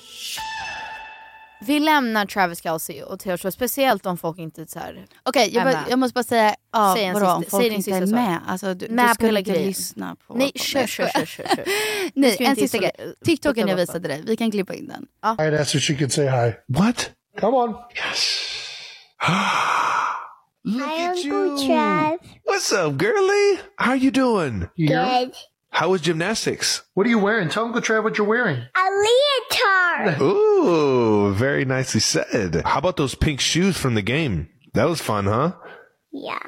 C: Vi lämnar Travis Kelce och Taylor Swift, speciellt om folk inte så här.
B: Okej, jag,
C: är
B: bara-
C: med.
B: jag måste bara säga, ja,
C: Säg en
B: vadå, om
C: sista-
B: folk
C: säg din
B: inte
C: sista
B: är
C: sak.
B: med. Alltså, du,
C: Med
B: du
C: på
B: skulle
C: hela
B: inte
C: grejen.
B: lyssna på liksom.
C: Nej,
B: vad-
C: kör,
B: jag
C: kör,
B: skojar.
C: kör, kör, kör. Vi
B: Nej,
C: ska
B: en
C: inte
B: sista
C: isolera-
B: grej. TikToken
C: putta
B: jag
C: bort
B: visade dig, vi kan klippa in den.
J: All right, that's what she could say hi. What? Come on.
K: Look at
J: you.
K: Trav.
J: What's up, girly? How you doing?
K: Good.
J: How was gymnastics? What are you wearing? Tell Uncle Trav what you're wearing.
K: A leotard.
J: Ooh, very nicely said. How about those pink shoes from the game? That was fun, huh?
K: Yeah.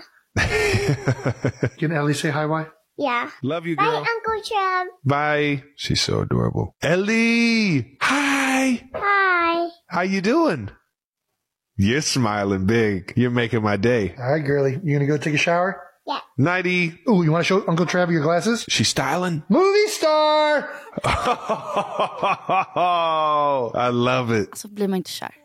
J: Can Ellie say hi, why?
K: Yeah.
J: Love you,
K: Bye,
J: girl.
K: Uncle Trav.
J: Bye. She's so adorable. Ellie! Hi!
K: Hi.
J: How you doing? You're smiling big. You're making my day.
K: All right, girly. You gonna go take a shower? Yeah.
J: Nighty.
K: Ooh, you want to show Uncle Trav your glasses?
J: She's styling.
K: Movie star.
J: I love it.
B: Så blir man inte kär.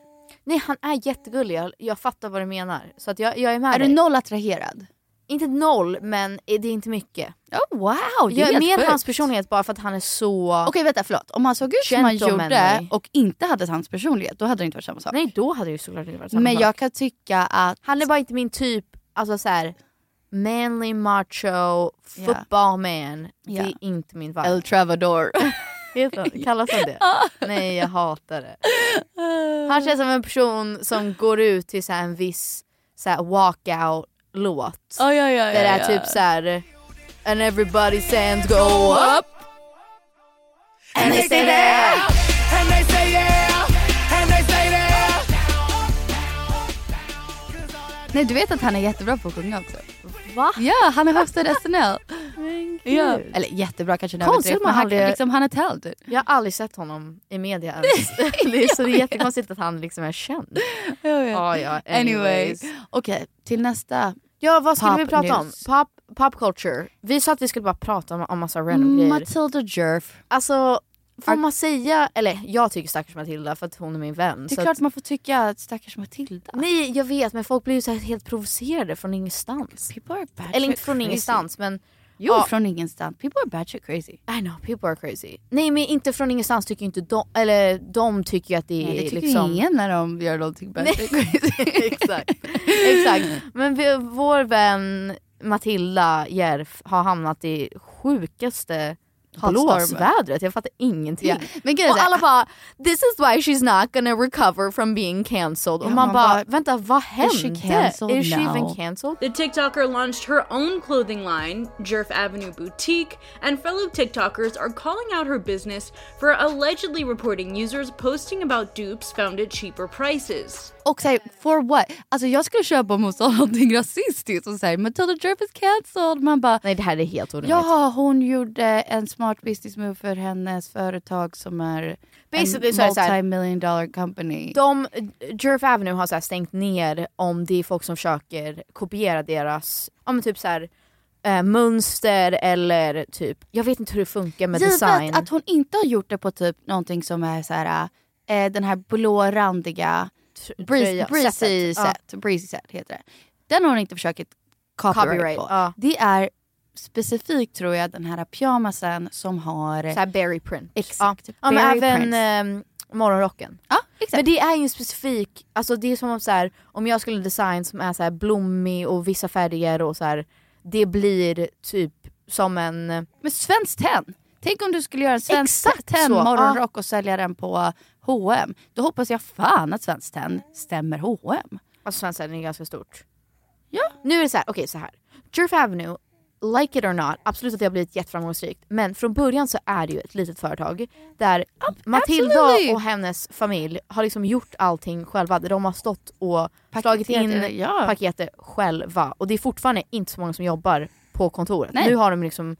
C: Nej han är jättegullig, jag, jag fattar vad du menar. Så att jag, jag är med
B: Är du
C: dig.
B: noll attraherad?
C: Inte noll, men det är inte mycket.
B: Oh, wow, det är
C: jag är
B: helt
C: mer
B: sjukt.
C: hans personlighet bara för att han är så...
B: Okej vänta, förlåt. Om han såg ut som han gjorde
C: Gentlemanly.
B: och inte hade hans personlighet, då hade det inte varit samma sak.
C: Nej då hade det ju såklart inte varit samma
B: Men
C: sak.
B: jag kan tycka att...
C: Han är bara inte min typ, alltså så här, manly macho, football man.
B: Ja.
C: Det är inte min vibe.
B: El Travador.
C: Heter han- Kallas han det? Nej jag hatar det. Han känns som en person som går ut till så här en viss så här walkout låt.
B: Ja, ja, ja,
C: det
B: ja,
C: är
B: ja.
C: typ så här And everybody's hands go up.
F: And they say yeah. And they say yeah. And they say yeah.
B: Nej du vet att han är jättebra på att sjunga också?
C: Va?
B: Ja, han har höstat SNL.
C: Men gud.
B: ja. Eller jättebra kanske en
C: Konstigt
B: överdrift,
C: man
B: men han,
C: aldrig-
B: liksom, han är talented.
C: Jag har aldrig sett honom i media ens. det är, så det är jättekonstigt att han liksom är känd. Ja, ja, anyways.
B: Okej, till nästa.
C: Ja, vad skulle
B: Pop
C: vi prata
B: news.
C: om? Pop, pop culture. Vi sa att vi skulle bara prata om, om massa random grejer.
B: Mm, Matilda Jerf.
C: Alltså, får man säga, eller jag tycker stackars Matilda för att hon är min vän.
B: Det är
C: så
B: klart
C: att,
B: man får tycka att stackars Matilda.
C: Nej, jag vet men folk blir ju så här helt provocerade från ingenstans.
B: People are bad
C: eller inte
B: shit
C: från
B: crazy.
C: ingenstans men...
B: Jo,
C: ja,
B: från ingenstans. People are bad shit crazy.
C: I know, people are crazy. Nej men inte från ingenstans tycker inte de, eller de tycker ju att det är
B: Nej, det tycker
C: liksom...
B: ingen när de gör någonting bad shit crazy.
C: Exakt. Men vi, vår vän Matilda Järf har hamnat i sjukaste
B: Hatstormen.
C: blåsvädret. Jag fattar ingenting.
B: Ja, men grejen är
C: och
B: så här-
C: alla bara “this is why she's not gonna recover from being cancelled” och
B: Ja,
C: man,
B: man
C: bara,
B: bara,
C: “vänta vad hände?
B: she cancelled
C: Is she
B: now?"
C: even cancelled?”
L: The TikToker launched her own clothing line, Jerf Avenue Boutique, and fellow TikTokers are calling out her business for allegedly reporting users posting about dupes found at cheaper prices.
B: Och såhär, for what? Alltså jag skulle köpa om hon sa någonting rasistiskt och såhär Matilda Jerf is cancelled. Man bara,
C: Nej det här är helt orimligt.
B: ja hon gjorde en smart business move för hennes företag som är
C: Basically
B: en
C: så är det så här-
B: multi-million dollar company.
C: De, Jerf Avenue har så här stängt ner om det är folk som försöker kopiera deras, ja men typ så här, eh, mönster eller typ, jag vet inte hur det funkar med
B: Givet
C: design.
B: att hon inte har gjort det på typ någonting som är så här, eh, den här blårandiga breezy,
C: tröja,
B: breezy
C: sättet. Ja.
B: set, breezy set heter det. Den har hon inte försökt copyright,
C: Copyright,
B: på.
C: ja.
B: Det är specifikt tror jag den här pyjamasen som har... eh,
C: Så här berry print.
B: Exakt.
C: Ja, ja men
B: Berry
C: även
B: prints.
C: ehm, morgonrocken.
B: Ja,
C: Men det är ju en specifik, alltså det är som om så här, om jag skulle design som är så här blommig och vissa färger och så här, det blir typ som en...
B: Men svenskt tenn! Tänk om du skulle göra en svensk
C: Exakt
B: tenn
C: så,
B: morgonrock och sälja den på H&M. Då hoppas jag fan att svenskt tenn stämmer H&M.
C: Alltså Svensen är ganska stort. Ja. Nu är det så här, okej så här. Jerf Avenue, like it or not, absolut att det har blivit jätteframgångsrikt. Men från början så är det ju ett litet företag där Matilda
B: absolutely.
C: och hennes familj har liksom gjort allting själva. Där de har stått och slagit
B: Paketerat,
C: in
B: ja.
C: paketet själva. Och det är fortfarande inte så många som jobbar på kontoret.
B: Nej.
C: Nu har de liksom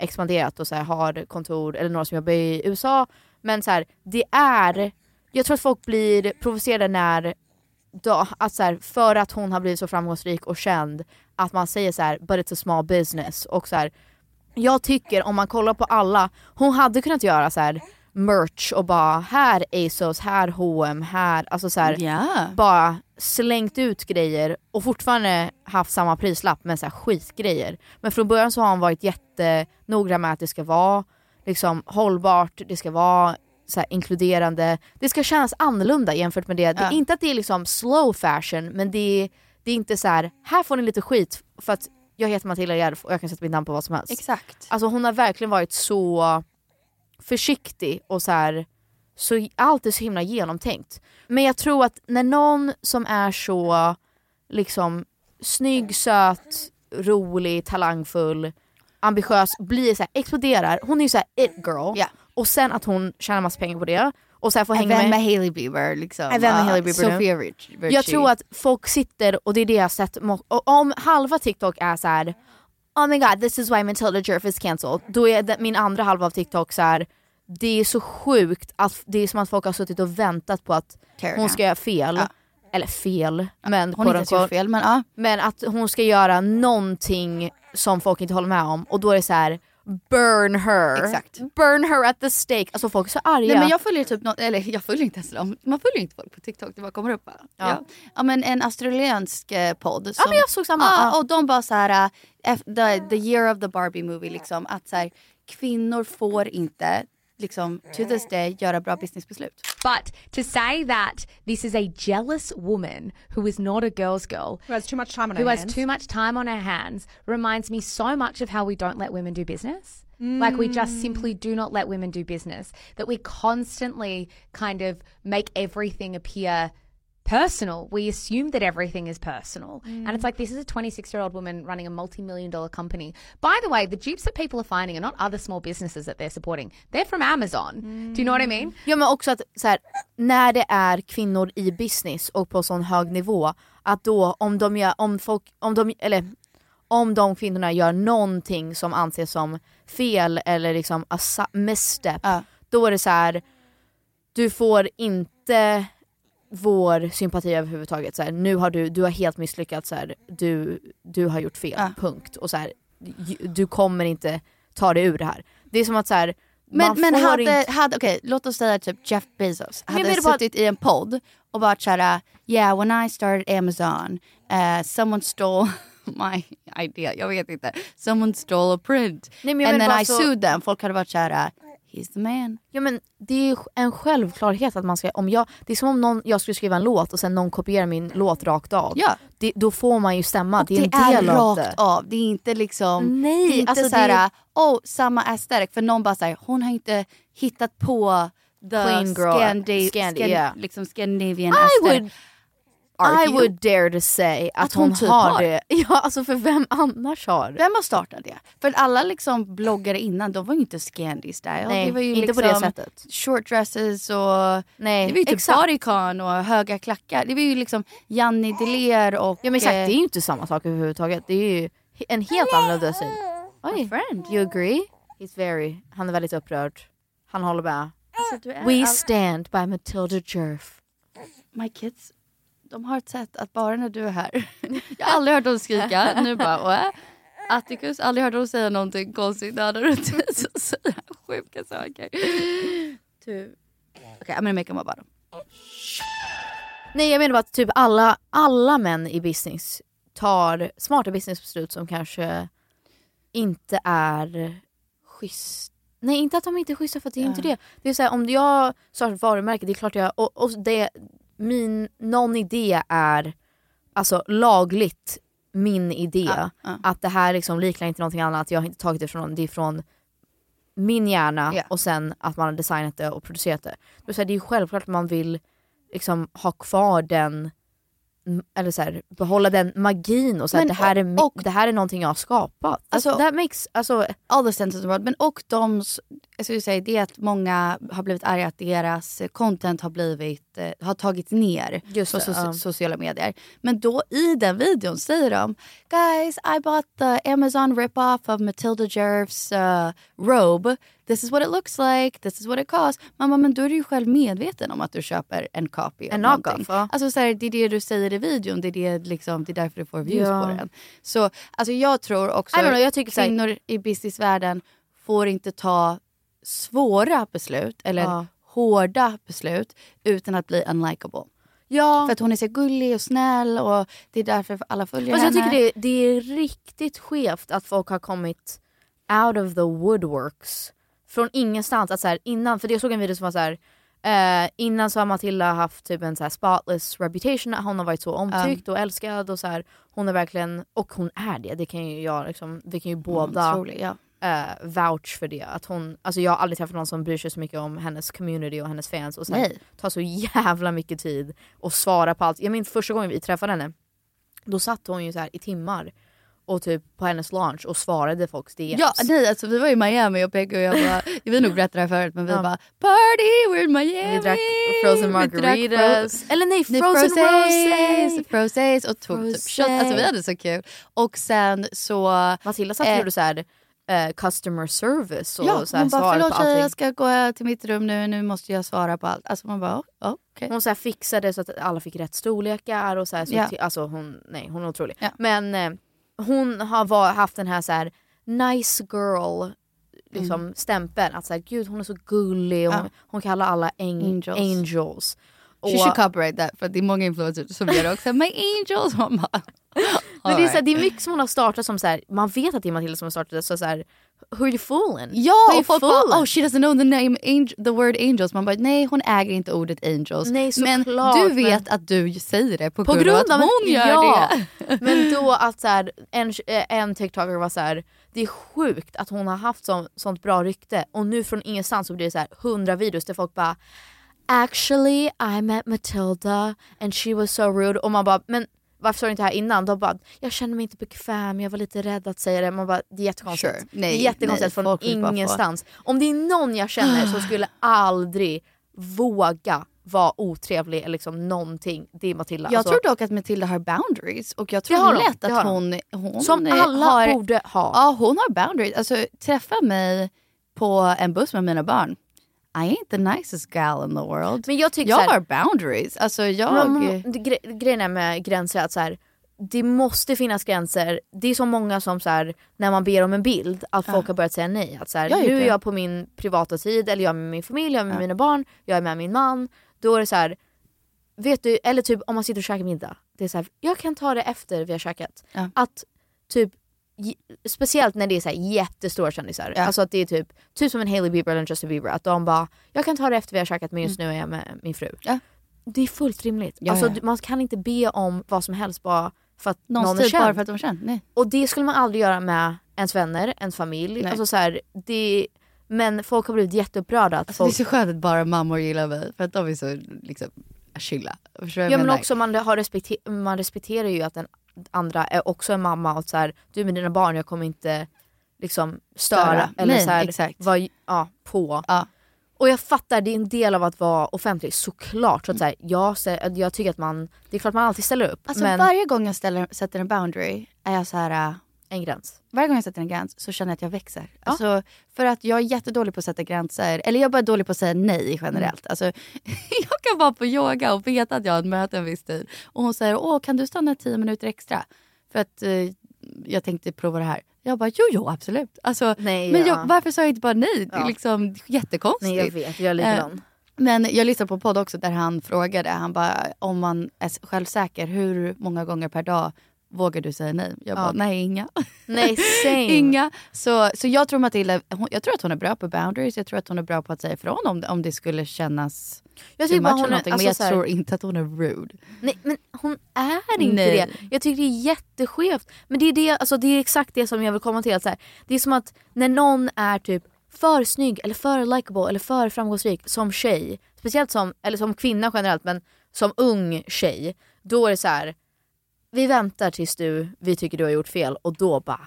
C: expanderat och så här, har kontor, eller några som jobbar i USA. Men så här, det är, jag tror att folk blir provocerade när då, att så här, för att hon har blivit så framgångsrik och känd att man säger så här, but it's a small business och så här, jag tycker om man kollar på alla, hon hade kunnat göra så här merch och bara här ASOS, här H&M, här, alltså så här,
B: Ja.
C: bara slängt ut grejer och fortfarande haft samma prislapp men så här skitgrejer. Men från början så har hon varit jättenoga med att det ska vara liksom hållbart, det ska vara så här inkluderande, det ska kännas annorlunda jämfört med det. det är
B: Ja.
C: inte att det är liksom slow fashion men det är, det är inte så här, här får ni lite skit för att jag heter Matilda Järf och jag kan sätta mitt namn på vad som helst.
B: Exakt.
C: Alltså hon har verkligen varit så försiktig och så här så allt är så himla genomtänkt. Men jag tror att när någon som är så liksom snygg, söt, rolig, talangfull, ambitiös blir så här, exploderar. Hon är ju så här it girl.
B: Ja.
C: Och sen att hon tjänar massa pengar på det och så här får
B: Även
C: hänga med.
B: med Hailey Bieber. Liksom.
C: Även med
B: Ja,
C: Hailey Bieber nu.
B: Sofia Rich- Richie.
C: Jag tror att folk sitter och det är det jag har sett. mo- och Om halva TikTok är så här. Oh my god this is why Matilda Jerf is cancelled. Då är det, min andra halva av TikTok så här. Det är så sjukt att det är som att folk har suttit och väntat på att
B: Tear
C: hon
B: down.
C: ska göra fel. Eller fel. Men,
B: Hon har inte ens gjort
C: quote-unquote.
B: fel men ja.
C: Men att hon ska göra någonting som folk inte håller med om och då är det så här: burn her.
B: Exakt.
C: Burn her at the stake. Alltså folk är så arga.
B: Nej men jag följer typ något, eller jag följer inte ens dem. Man följer inte folk på TikTok, det bara kommer upp bara. Ja.
C: Ja.
B: Ja. men en australiensk eh, podd. Som,
C: men jag såg samma.
B: Ja,
C: Ja.
B: och de bara så här, eh, F- the, the year of the Barbie movie liksom. Att så här, kvinnor får inte, liksom to this day, göra bra businessbeslut.
M: But to say that this is a jealous woman who is not a girl's girl,
N: Who has too much time on
M: who
N: her
M: has
N: hands.
M: too much time on her hands, reminds me so much of how we don't let women do business. Like we just simply do not let women do business. That we constantly kind of make everything appear personal. We assume that everything is personal. And it's like this is a 26 year old woman running a multi million dollar company. By the way, the dupes that people are finding are not other small businesses that they're supporting, they're from Amazon. Do you know what I mean?
C: Ja men också att så här, när det är kvinnor i business och på sån hög nivå, att då om de gör, om folk, om de, eller om de kvinnorna gör någonting som anses som fel eller liksom a su- misstep, då är det så här. du får inte vår sympati överhuvudtaget. Så här, nu har du, du har helt misslyckats, så här, du, du har gjort fel, punkt. Och så här, ju- du kommer inte ta dig ur det här. Det är som att så här,
B: Men,
C: man
B: men
C: får
B: hade,
C: inte...
B: hade okej låt oss säga typ Jeff Bezos
C: Men
B: hade
C: jag menar bara-
B: suttit i en podd och varit såhär, yeah when I started Amazon, uh, someone stole my idea, jag vet inte, someone stole a print
C: Nej, men jag
B: and
C: menar
B: then
C: bara
B: I
C: så-
B: sued them. Folk hade varit såhär, he's the man.
C: Ja men det är ju en självklarhet att man ska, om jag, det är som om någon, jag skulle skriva en låt och sen någon kopierar min låt rakt av.
B: Ja.
C: Det, då får man ju stämma, det är
B: det
C: en
B: är
C: del av det.
B: rakt av, det är inte liksom,
C: Nej,
B: det är inte
C: alltså det
B: såhär,
C: är-
B: oh samma aesthetic för någon bara såhär, hon har inte hittat på the
C: Plain girl,
B: Scandi,
C: Scandi,
B: Scan-
C: yeah.
B: liksom Scandinavian
C: I
B: aesthetic.
C: would, I
B: Argue.
C: would dare to say att,
B: Att hon
C: hon,
B: typ
C: har,
B: har.
C: det. Ja alltså för vem annars har?
B: Vem har startat det? För att alla liksom bloggare innan, de var ju inte Scandi style.
C: Nej,
B: det var ju
C: inte på
B: liksom
C: det sättet.
B: Short dresses och
C: Nej,
B: det var ju typ
C: exakt.
B: bodycon och höga klackar. Det var ju liksom Janni Deler och... eh,
C: Ja men exakt, det är ju inte samma sak överhuvudtaget. Det är ju he- en helt annorlunda syn. Oj, you agree? He's very, han är väldigt upprörd. Han håller med. We stand by Matilda Jerf.
B: My kids, de har ett sätt att bara när du är här. Jag har aldrig hört dem skrika. Nu bara... Wah. Atticus, aldrig hört dem säga någonting konstigt när han är runt mig. Så säger han sjuka saker.
C: Typ.
B: Du... Okej, okay, I'm gonna make him about
C: Nej jag menar bara att typ alla, alla män i business tar smarta businessbeslut som kanske inte är schysst. Nej inte att de inte är schyssta för att det är inte det. Det är såhär om jag startar ett varumärke, det är klart jag, och, och det, min, någon idé är alltså lagligt min idé. Att det här liksom liknar inte någonting annat, jag har inte tagit det från någon, det är från min hjärna
B: Ja.
C: och sen att man har designat det och producerat det. Det är, så här, det är ju självklart att man vill liksom ha kvar den, m- eller så här, behålla den magin och så här,
B: Men
C: det, här är, mi-
B: och-
C: det här är någonting jag har skapat.
B: Alltså,
C: that makes, alltså,
B: all the sense in the world. Men och de, s- jag skulle säga det är att många har blivit arga att deras eh, content har blivit, eh, har tagits ner på
C: det,
B: soci-
C: ja.
B: sociala medier. Men då i den videon säger de, guys I bought the Amazon rip-off of Matilda Jerfs eh, robe. This is what it looks like, this is what it costs. Mamma men då är du ju själv medveten om att du köper en copy
C: En
B: av någonting.
C: knockoff, ja.
B: Alltså så här, det är det du säger i videon, det är, det, liksom, det är därför du får views
C: Ja.
B: på den. Så alltså, jag tror också
C: I don't know, jag tycker så här-
B: kvinnor i businessvärlden får inte ta svåra beslut eller
C: Ja.
B: hårda beslut utan att bli unlikable.
C: Ja.
B: För att hon är så gullig och snäll och det är därför alla följer
C: Fast jag
B: henne.
C: tycker det, det är riktigt skevt att folk har kommit out of the woodworks. Från ingenstans. Att så här, innan, för jag såg en video som var så här. Eh, innan så har Matilda haft typ en så här spotless reputation, hon har varit så omtyckt och älskad och så här, hon är verkligen, och hon är det, det kan ju jag liksom, vi kan ju båda
B: otrolig, ja.
C: eh, vouch för det. Att hon, alltså jag har aldrig träffat någon som bryr sig så mycket om hennes community och hennes fans och så här,
B: Nej.
C: tar så jävla mycket tid och svarar på allt. Jag minns första gången vi träffade henne, då satt hon ju så här i timmar och typ på hennes lunch och svarade folks DMs.
B: Ja, nej, alltså, vi var i Miami och Peggy och jag bara, vi har nog berättat det här förut men vi bara party, we're in Miami.
C: Vi drack frozen
B: Vi drack
C: margaritas.
B: fro-
C: Eller nej,
B: Nej,
C: frozen
B: frosés.
C: roses.
B: Frosés och tog typ shot. Alltså vi hade så kul. Och sen så...
C: Matilda satt och gjorde så här, eh, customer service och
B: ja,
C: så här,
B: hon bara
C: svarade
B: förlåt
C: på
B: tjejer,
C: allting.
B: jag ska gå till mitt rum nu, nu måste jag svara på allt. Alltså man bara oh, okej.
C: Hon så här fixade så att alla fick rätt storlekar och så här, så
B: Ja.
C: till, alltså hon, nej hon är otrolig. Men eh, hon har va- haft den här så här nice girl liksom, stämpeln att så här, gud hon är så gullig, hon,
B: Mm. Ja.
C: hon kallar alla äng-
B: Angels.
C: angels.
B: She should copyright that för att det är många influencers som gör det också. My angels! Man bara,
C: Men det är, så här, det är mycket som hon har startat som så här, man vet att det är Matilda som har startat det, så, så här, who are you fooling? Who are
B: Ja,
C: you
B: och folk bara,
C: fooling?
B: oh she doesn't know the, name, angel, the word angels. Man bara, nej hon äger inte ordet angels.
C: Nej,
B: men
C: såklart,
B: du
C: men-
B: vet att du säger det på, grund, av att hon gör
C: ja.
B: det.
C: Men då att så här, en, en TikToker var så här, det är sjukt att hon har haft så, sånt bra rykte och nu från ingenstans så blir det så här 100 videos där folk bara Actually I met Matilda and she was so rude och man bara men varför sa du inte det här innan? De bara jag känner mig inte bekväm, jag var lite rädd att säga det. Man bara det är jättekonstigt.
B: Sure.
C: det
B: Nej,
C: är jättekonstigt
B: nej,
C: från
B: folk vill bara få-
C: ingenstans. Om det är någon jag känner som skulle aldrig våga vara otrevlig eller liksom någonting, det är Matilda.
B: Jag
C: Alltså-
B: tror dock att Matilda har boundaries och jag
C: Det
B: tror
C: har hon,
B: lätt
C: det
B: att
C: har
B: hon,
C: hon.
B: hon
C: Som
B: eh,
C: alla
B: har,
C: borde ha.
B: Ja, hon har boundaries. Alltså träffa mig på en buss med mina barn. I ain't the nicest gal in the world.
C: Men jag tycker så här-
B: har boundaries. Alltså jag...
C: Men man- det gre grejen är med gränser att så här, det måste finnas gränser. Det är så många som så här, när man ber om en bild att folk har börjat säga nej. Att så här,
B: Jag har gjort
C: nu
B: det.
C: är jag på min privata tid eller jag är med min familj, jag är med mina barn, jag är med min man. Då är det så här, vet du, eller typ om man sitter och käkar middag. Det är så här, jag kan ta det efter vi har käkat. Att typ j- Speciellt när det är så här jättestora kändisar.
B: Ja.
C: Alltså att det är typ, typ som en Hailey Bieber eller en Justin Bieber. Att de bara, jag kan ta det efter vi har käkat men
B: Mm.
C: just nu är jag med min fru. Det är fullt rimligt.
B: Ja,
C: alltså,
B: ja.
C: du- Man kan inte be om vad som helst bara för att
B: Någons
C: någon är
B: tid
C: känd.
B: bara för att de är känd. Nej.
C: Och det skulle man aldrig göra med ens vänner, ens familj.
B: Nej.
C: Alltså, så här, det, men folk har blivit jätteupprörda. Att
B: Alltså, det är
C: folk,
B: så skönt att bara mammor gillar mig för att de är så liksom chilla. Förstår du vad
C: ja,
B: jag
C: men
B: menar?
C: också man, har respekter, man respekterar ju att den andra är också en mamma och så här, du med dina barn, jag kommer inte liksom störa.
B: Störa.
C: Eller
B: Nej,
C: så här,
B: exakt.
C: Vad, ja, på. Och jag fattar, det är en del av att vara offentlig
B: Mm.
C: såklart. Så att, så här, jag, stä- jag tycker att man, det är klart man alltid ställer upp.
B: Alltså
C: men
B: varje gång jag ställer, sätter en boundary är jag så här...
C: en gräns.
B: varje gång jag sätter en gräns så känner jag att jag växer. Alltså, för att jag är jättedålig på att sätta gränser. Eller jag är bara dålig på att säga nej
C: Mm.
B: generellt. Alltså, jag kan vara på yoga och veta att jag har ett möte en viss tid. Och hon säger, åh kan du stanna tio minuter extra? För att eh, jag tänkte prova det här. Jag bara, jo jo absolut. Alltså,
C: Nej,
B: men
C: ja.
B: jag, varför sa jag inte bara nej? Det är
C: Ja.
B: liksom jättekonstigt.
C: Nej, jag vet. Jag är likadan.
B: Eh, Men jag lyssnade på en podd också där han frågade, han bara, om man är självsäker, hur många gånger per dag vågar du säga nej? Jag bara,
C: Ja.
B: nej inga.
C: Nej, same.
B: Inga. Så, så jag tror Matilda, hon, jag tror att hon är bra på boundaries, jag tror att hon är bra på att säga ifrån om, om det skulle kännas
C: Jag
B: too
C: tycker bara
B: much
C: hon
B: eller
C: är-
B: någonting.
C: alltså
B: men jag
C: så här-
B: tror inte att hon är rude.
C: Nej men hon är inte
B: Nej.
C: det. Jag tycker det är jätteskevt. Men det är, det, alltså, det är exakt det som jag vill komma till. Att så här, det är som att när någon är typ för snygg eller för likable eller för framgångsrik som tjej. Speciellt som, eller som kvinna generellt men som ung tjej. Då är det så här. vi väntar tills du, vi tycker du har gjort fel och då bara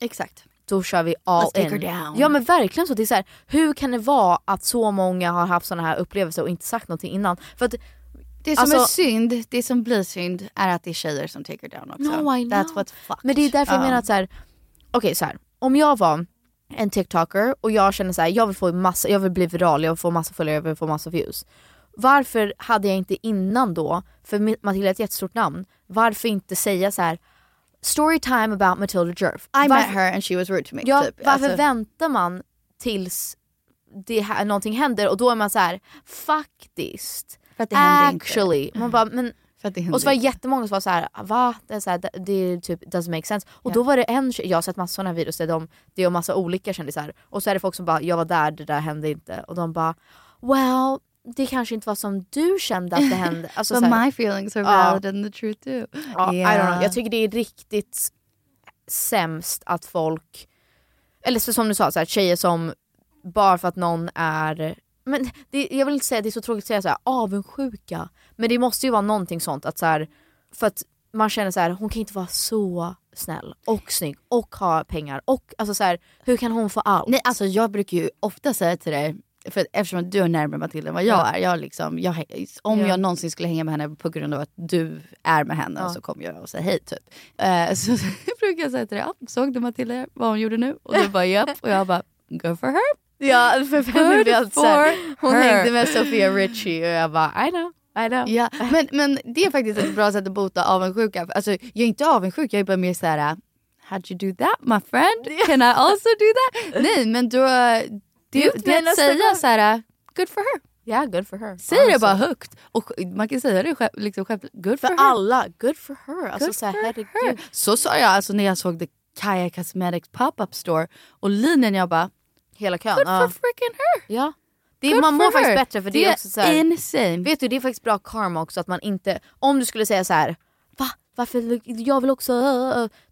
B: Exakt.
C: Då kör vi all
B: Let's take
C: in.
B: her down.
C: Ja men verkligen så. Det är så här, hur kan det vara att så många har haft sådana här upplevelser och inte sagt någonting innan? För att
B: Det som är synd, det som blir synd är att det är tjejer som take her down också.
C: No, I know.
B: That's what fucked.
C: Men det är därför jag
B: Ja.
C: menar att så här, okej så här, om jag var en TikToker och jag känner så här, jag vill få massa, jag vill bli viral, jag vill få massa följare, jag vill få massa views. Varför hade jag inte innan då, för Mi- Matilda är ett jättestort namn, varför inte säga så här storytime about Matilda Jerf.
B: I
C: varför,
B: met her and she was rude to me.
C: Ja,
B: typ.
C: varför
B: Alltså-
C: väntar man tills det här, någonting händer och då är man så här faktiskt,
B: För att det händer inte.
C: actually. Man bara, men,
B: händer
C: och så var det
B: inte.
C: jättemånga som var så här, va? Det, är så här, det, det typ doesn't make sense. Och då var det en tjej- jag har sett massa sådana videos där de, det är massa olika kändisar och så är det folk som bara, jag var där, det där hände inte. Och de bara, well det kanske inte var som du kände att det hände. Alltså,
B: But
C: så här,
B: my feelings are
C: Ja.
B: valid and the truth too.
C: Ja, I don't know.
B: Yeah.
C: Jag tycker det är riktigt sämst att folk, eller så som du sa, så här, tjejer som bara för att någon är men det, jag vill inte säga det är så tråkigt att säga så här, avundsjuka. Men det måste ju vara någonting sånt att så här, för att man känner så här, hon kan inte vara så snäll och snygg och ha pengar och alltså så här, hur kan hon få allt?
B: Nej, alltså jag brukar ju ofta säga till dig, för eftersom att du är närmare Matilda än vad jag
C: Ja.
B: är. Jag liksom, jag, om
C: Ja.
B: jag någonsin skulle hänga med henne på grund av att du är med henne
C: Ja.
B: så kommer jag och säger hej typ. Eh, så brukar jag säga till dig, ja, såg du Matilda vad hon gjorde nu? Och du bara japp. Och jag bara, go for her.
C: Ja, för
B: Good for
C: hon
B: her.
C: hängde med Sofia Richie och jag bara I know, I know.
B: Ja, men, men det är faktiskt ett bra sätt att bota avundsjuka. Alltså, jag är inte avundsjuk, jag är bara mer så här. how'd you do that my friend? Can I also do that? Nej, men då, det, det är att säga så här, good for her.
C: Yeah, good for her.
B: Säg det bara högt. Och man kan säga det själv, liksom själv good for,
C: För
B: her.
C: alla, good for her. Alltså,
B: Good
C: så här,
B: for
C: herregud.
B: Så sa jag alltså när jag såg The Kaya Cosmetics pop-up store och linjen jag bara
C: Hela kön.
B: Good
C: ja.
B: for freaking her!
C: Ja. Det,
B: Good
C: man
B: for
C: mår faktiskt
B: her.
C: bättre för det,
B: Det
C: är
B: är
C: också så här,
B: insane.
C: Vet du, det är faktiskt bra karma också att man inte, om du skulle säga så här, va? Varför, jag vill också,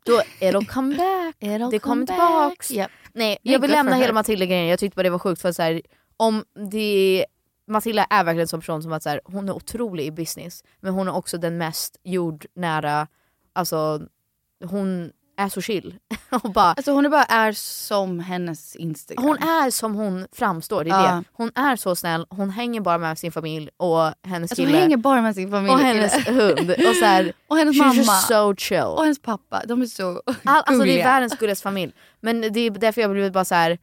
C: då it'll come back. det
B: come
C: kommer
B: back.
C: tillbaks.
B: Yep.
C: Nej,
B: Nej,
C: jag vill
B: good
C: lämna
B: for
C: hela
B: her.
C: Matilda-grejen, jag tyckte bara det var sjukt för att så här, om det Matilda är verkligen en sån person som att så här, hon är otrolig i business men hon är också den mest jordnära, alltså hon är så chill. och bara,
B: Alltså hon är bara är som hennes Instagram.
C: hon är som hon framstår, det är
B: Ja.
C: det. Hon är så snäll, hon hänger bara med sin familj och hennes
B: alltså, hon
C: kille.
B: hänger bara med sin familj.
C: och hennes hund. Och, så här,
B: och hennes
C: she's
B: mamma.
C: just so chill.
B: Och hennes pappa. De är så
C: All, alltså det är
B: gulliga.
C: världens gulligaste familj. Men det är därför jag blev bara så här.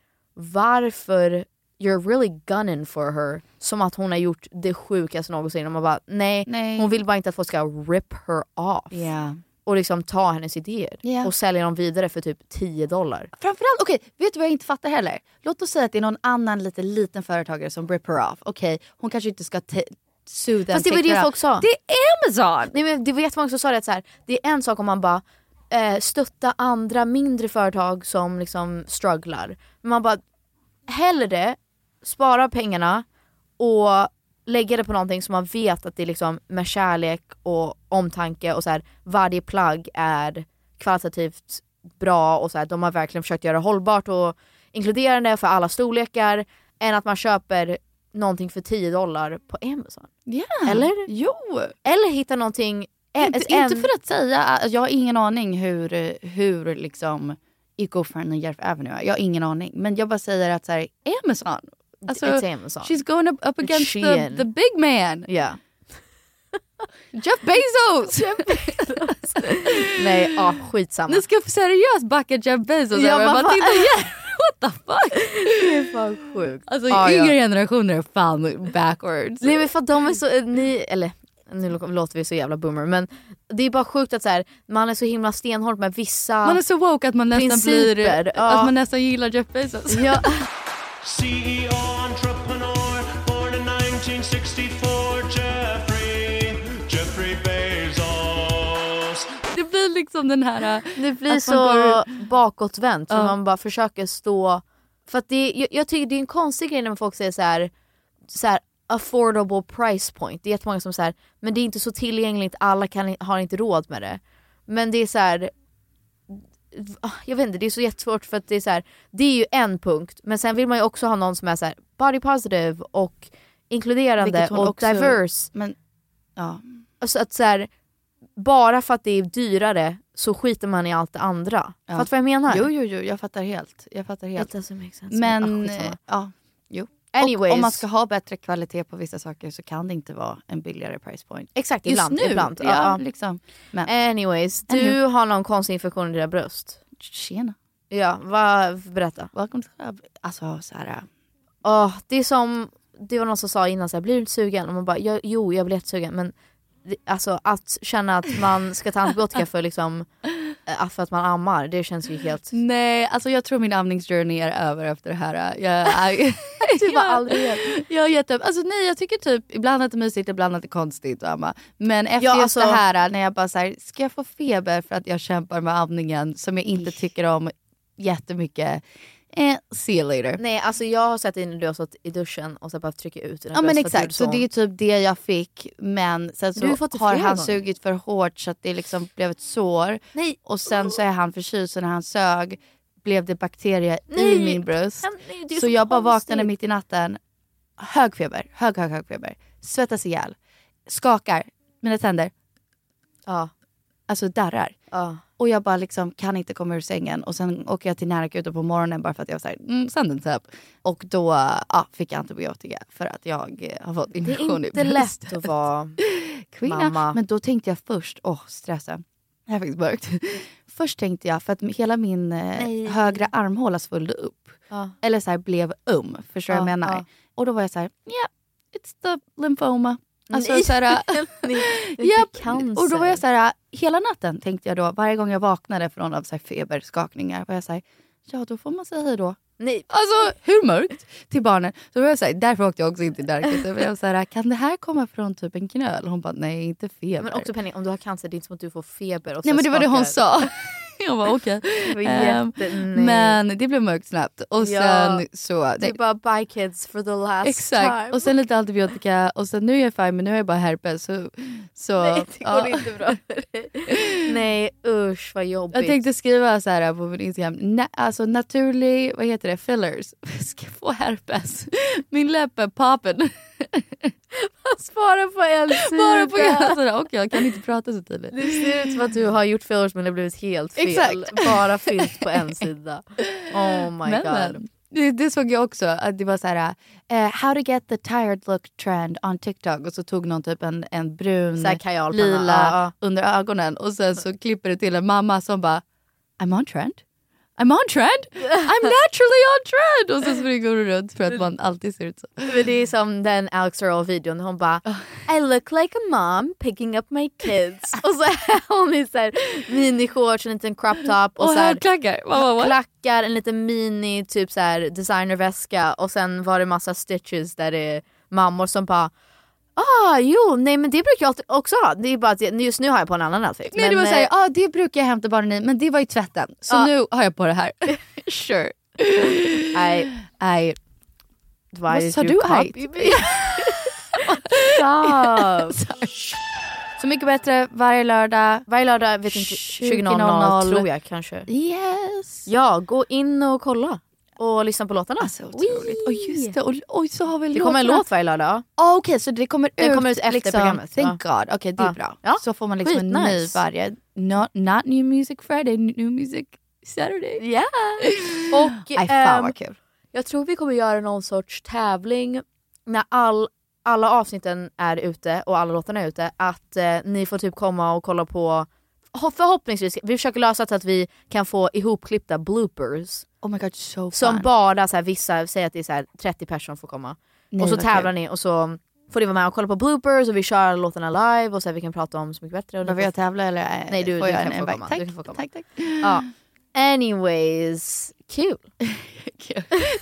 C: varför you're really gunning for her som att hon har gjort det sjukaste någonsin. Och man bara nej,
B: Nej.
C: hon vill bara inte att folk ska rip her off.
B: Ja.
C: Och liksom ta hennes idéer
B: Ja.
C: och sälja dem vidare för typ 10 dollar.
B: Framförallt, okej, vet du vad jag inte fattar heller? Låt oss säga att det är någon annan lite liten företagare som rip her off. Okej, hon kanske inte ska te- sue den.
C: Fast det var
B: take
C: det
B: her
C: folk
B: out.
C: sa.
B: Det är Amazon!
C: Nej, men det var jättemånga som sa det att så här, det är en sak om man bara eh, stötta andra mindre företag som liksom strugglar. Men man bara hellre spara pengarna och lägga det på någonting som man vet att det är liksom med kärlek och omtanke och så här, varje plagg är kvalitativt bra och så här, de har verkligen försökt göra det hållbart och inkluderande för alla storlekar än att man köper någonting för 10 dollar på Amazon.
B: Ja.
C: Eller?
B: Jo.
C: Eller hitta någonting... ä-
B: Inte,
C: en-
B: inte för att säga, alltså, jag har ingen aning hur, eh, hur liksom eco-friendly Järf Avenue är. Jag har ingen aning. Men jag bara säger att så här, Amazon. Alltså,
C: It's Amazon.
B: She's going up, up against the,
C: Shein.
B: the big man.
C: Yeah.
B: Jeff Bezos!
C: Nej, ja, skitsamma.
B: Ni ska seriöst backa Jeff Bezos
C: Ja,
B: över
C: vad fan-
B: Matilda Järf.
C: Det är fan sjukt.
B: Alltså
C: Ja, ja.
B: yngre generationer är fan backwards.
C: Nej men för att de är så, eh, ni, eller nu lo- låter vi så jävla boomer men det är bara sjukt att så här, man är så himla stenhård med vissa
B: Man är så woke att man nästan
C: principer.
B: blir,
C: ja.
B: att man nästan gillar Jeff Bezos.
C: Ja.
F: CEO entrepreneur, born in 1964, Jeffrey, Jeffrey Bezos.
B: Det blir liksom den här... äh,
C: Det blir
B: att man
C: så
B: går-
C: bakåtvänt så
B: Ja.
C: man bara försöker stå... För att det, jag, jag tycker det är en konstig grej när folk säger så här, så här affordable price point. Det är jättemånga som säger men det är inte så tillgängligt, alla kan, har inte råd med det. Men det är så här. ah, Jag vet inte, det är så jättesvårt för att det är så här, det är ju en punkt men sen vill man ju också ha någon som är så här body positive och inkluderande
B: Vilket hon
C: och
B: också-
C: diverse.
B: Men, ja.
C: Alltså att så här, bara för att det är dyrare så skiter man i allt det andra.
B: Ja.
C: Fattar du vad jag menar?
B: Jo, jo, jo, jag fattar helt. Jag fattar helt.
C: It doesn't make sense.
B: Men,
C: Ah,
B: eh,
C: skitsamma.
B: ja. Jo.
C: Anyways.
B: Och om man ska ha bättre kvalitet på vissa saker så kan det inte vara en billigare price point.
C: Exakt,
B: Just
C: ibland.
B: nu.
C: ibland.
B: Ja,
C: Ja, ja.
B: liksom. Men
C: Anyways, du
B: Anywho.
C: har någon konstig infektion i dina bröst.
B: tjena.
C: Ja, vad- berätta.
B: Welcome to the club. Alltså så här. äh,
C: Åh, det är som, det var någon som sa innan, så här, blir du inte sugen? Och man bara, "Ja, jo jag blir jättesugen men det- alltså att känna att man ska ta antibiotika för liksom, eh, att- för att man ammar, det känns ju helt...
B: Nej, alltså jag tror min amningsjourney är över efter det här. äh. Jag, I,
C: Du bara aldrig igen.
B: jag har gett upp. Alltså nej, jag tycker typ ibland att det är mysigt, ibland att det är konstigt att amma. Men efter
C: Ja,
B: just
C: alltså-
B: det här äh, när jag bara så här, ska jag få feber för att jag kämpar med amningen som jag inte tycker om jättemycket. Eh, see you later.
C: Nej alltså jag har sett dig när du har stått i duschen och så bara trycka ut dina
B: Ja men
C: bröst för att
B: exakt, så
C: gjorde
B: det är typ det jag fick. Men sen så
C: Du har ju fått det
B: har
C: flera
B: han
C: gånger.
B: sugit för hårt så att det liksom blev ett sår.
C: Nej.
B: Och sen så är han förkyld så när han sög blev det bakterier
C: Nej.
B: i min bröst.
C: Han- nej, det är
B: så
C: så
B: jag bara
C: konstigt.
B: vaknade mitt i natten, hög feber, hög hög hög feber. Svettas ihjäl, skakar, mina tänder
C: Ja.
B: alltså darrar.
C: Ja.
B: Och jag bara liksom kan inte komma ur sängen. Och sen åker jag till närakuten på morgonen bara för att jag var såhär, mm, sanden typ. Och då ja, fick jag antibiotika för att jag eh, har fått
C: Det
B: infektion
C: är inte
B: i bröstet.
C: lätt att vara
B: Kvinna.
C: mamma.
B: Men då tänkte jag först, åh stressen. Det här är faktiskt mörkt. Först tänkte jag, för att hela min
C: Nej.
B: eh, högra armhåla svullde upp.
C: Ja.
B: Eller så här blev um, förstår du
C: Ja,
B: vad jag menar?
C: ja.
B: Och då var jag så här, ja, it's the lymphoma. Alltså
C: Nej.
B: så här,
C: Nej, det är inte
B: Japp.
C: cancer.
B: Och då var jag så här, hela natten tänkte jag då, varje gång jag vaknade från av så här feberskakningar, var jag så här, ja då får man säga hej då. Nej. Alltså hur mörkt? Till barnen. Så var jag så här, därför åkte jag också inte till Darket. Jag var så här, kan det här komma från typ en knöl? Hon bara, nej inte feber.
C: Men också Penny, om du har cancer, det är inte som att du får feber och
B: Nej
C: så
B: men det var det hon
C: skakar.
B: sa. Jag bara okej.
C: Det var
B: Ehm,
C: jätte- nej.
B: men det blev mörkt snabbt. Och
C: Ja.
B: sen så...
C: Du bara bye kids for the last
B: Exakt.
C: time.
B: Och sen lite antibiotika och sen nu är jag fine men nu har jag bara herpes. Så, så,
C: Nej det går
B: ja.
C: inte bra för dig. Nej usch vad jobbigt.
B: Jag tänkte skriva så här på min Instagram, na- alltså naturlig, vad heter det, fillers. Jag ska få herpes. Min läpp är poppen.
C: Spara på en sida.
B: Bara på gatorna. Och jag kan inte prata så tydligt.
C: Det ser ut som att du har gjort fillers men det har blivit helt fel.
B: Exakt.
C: Bara fyllt på en sida. Oh my
B: men,
C: god.
B: Men, det, det såg jag också, att det var så här, eh, how to get the tired look trend on TikTok och så tog någon typ en, en brun,
C: Så här kajalpanna,
B: lila
C: ja,
B: under ögonen och sen så klipper det till en mamma som bara I'm on trend. I'm on trend! I'm naturally on trend! Och så springer hon runt för att man alltid ser ut så.
C: Men det är som den Alex Earl-videon hon bara I look like a mom picking up my kids. och så är hon i så här minishorts, en liten crop top och,
B: Och
C: så här,
B: högklackar. Vad, vad, vad?
C: Klackar, en liten mini typ så här designerväska och sen var det massa stitches där det är mammor som bara Ah jo, nej men det brukar jag alltid också ha. Det är bara att jag- just nu har jag på en annan outfit.
B: Nej, det var såhär,
C: eh,
B: ah, det brukar jag hämta barnen i men det var i tvätten. Så
C: Ja.
B: nu har jag på det här. sure.
C: I,
B: I, "Ah,
C: why
B: Vad
C: did
B: sa
C: you
B: du
C: copy
B: height?
C: me? Stop.
B: Så mycket bättre varje lördag.
C: Varje lördag, typ vet inte, 20.00 tror jag kanske.
B: Yes!
C: Ja, gå in och kolla. Och lyssna på låtarna.
B: Alltså, otroligt. Och just det, och, och så har vi
C: Det kommer en
B: låtarna.
C: låt varje lördag.
B: Ah, Okej, så det kommer
C: Den
B: ut,
C: kommer ut efter
B: liksom,
C: programmet.
B: Thank
C: Ja.
B: God. Okej, det är
C: Ja.
B: bra.
C: Ja.
B: Så får man liksom en ny
C: Skitnice.
B: varje. Not, not new music Friday, new music Saturday.
C: Ja. Och
B: Aj, fan
C: ehm,
B: vad kul.
C: jag tror vi kommer göra någon sorts tävling när all, alla avsnitten är ute och alla låtarna är ute. Att eh, ni får typ komma och kolla på ho- förhoppningsvis, vi försöker lösa så att vi kan få ihopklippta bloopers.
B: Oh my god, so
C: Som
B: fun.
C: bara så här, vissa, säger att det är så här, 30 personer får komma.
B: Nej,
C: och så
B: vad
C: tävlar
B: kul.
C: ni och så får ni vara med och kolla på bloopers och vi kör låtarna live och så här, vi kan prata om Så mycket bättre. Och ni
B: Behöver
C: får-
B: jag tävla eller eh,
C: Nej du,
B: får
C: du,
B: jag en
C: kan få
B: invite?
C: komma.
B: Tack.
C: du kan få komma. Ja. Mm. Anyways, kul.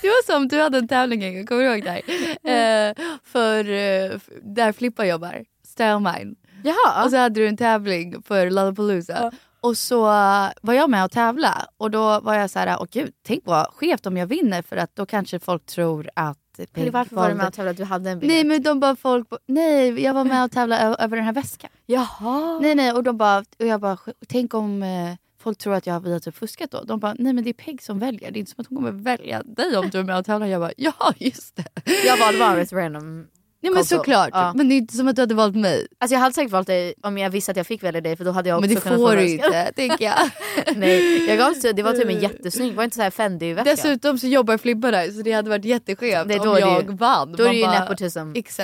B: Det var som du hade en tävling en gång, kommer du ihåg det här? Eh, för, eh, f- där Flippa jobbar, Style Mine.
C: Jaha.
B: Och så hade du en tävling för Lollapalooza. Och så eh, var jag med och tävla och då var jag så här, åh gud, tänk vad skevt om jag vinner för att då kanske folk tror att
C: Pelle, varför var du med och tävlade? Du hade en bild.
B: Nej men de bara folk, bara, nej jag var med och tävlade ö- över den här väskan.
C: Jaha.
B: Nej nej och de bara, och jag bara, tänk om eh, folk tror att jag vi har typ fuskat då. De bara, nej men det är Peg som väljer, det är inte som att hon kommer välja dig om du är med och tävlar. Jag bara, ja just det.
C: Jag valde bara ett random
B: Nej men
C: konto.
B: såklart,
C: Ja.
B: men det är inte som att du hade valt mig.
C: Alltså jag hade säkert valt dig om jag visste att jag fick välja dig för då hade jag
B: Men
C: också
B: det
C: kunnat
B: får
C: få
B: du
C: väskan.
B: inte, tänker jag. Eh,
C: Nej, jag gav, det var typ en jättesnygg, var inte så här Fendi-väska?
B: Dessutom så jobbar Flippa där så det hade varit jätteskevt
C: Nej, då
B: om
C: är det ju-
B: jag vann.
C: då är det
B: Man
C: ju
B: bara-
C: nepotism.
B: Exakt.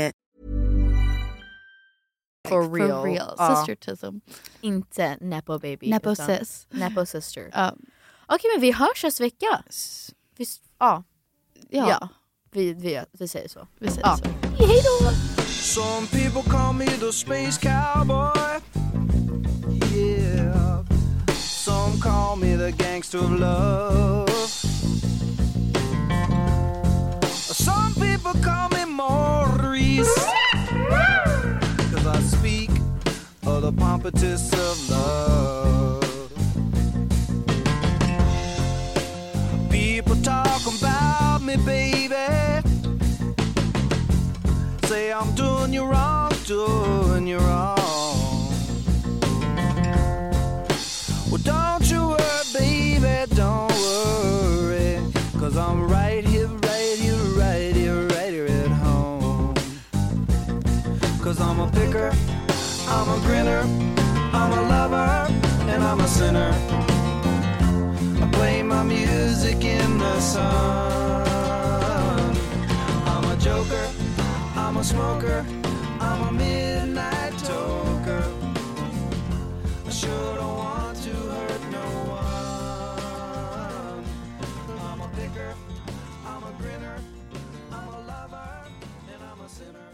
C: For
B: For
C: real.
B: real.
C: Ja.
B: Sistertism.
C: Inte Nepo baby.
B: Nepo
C: utan
B: sis.
C: Nepo sister.
B: Ja.
C: Okej men vi hörs nästa vecka. Visst, ja.
B: Ja.
C: Vi, vi, vi säger så.
B: Vi säger
C: ja.
B: så.
C: Hej då!
F: Some people call me the space cowboy. Yeah. Some call me the gangster of love. Some people call me Maurice. Cause I speak of the pompous of love. People talk about me, baby say I'm doing you wrong, doing you wrong. Well, don't you worry, baby, don't worry. Cause I'm right here, right here, right here, right here at home. Cause I'm a picker, I'm a grinner, I'm a lover, and I'm a sinner. I play my music in the sun. I'm a joker. I'm a smoker. I'm a midnight toker. I sure don't want to hurt no one. I'm a picker. I'm a grinner. I'm a lover. And I'm a sinner.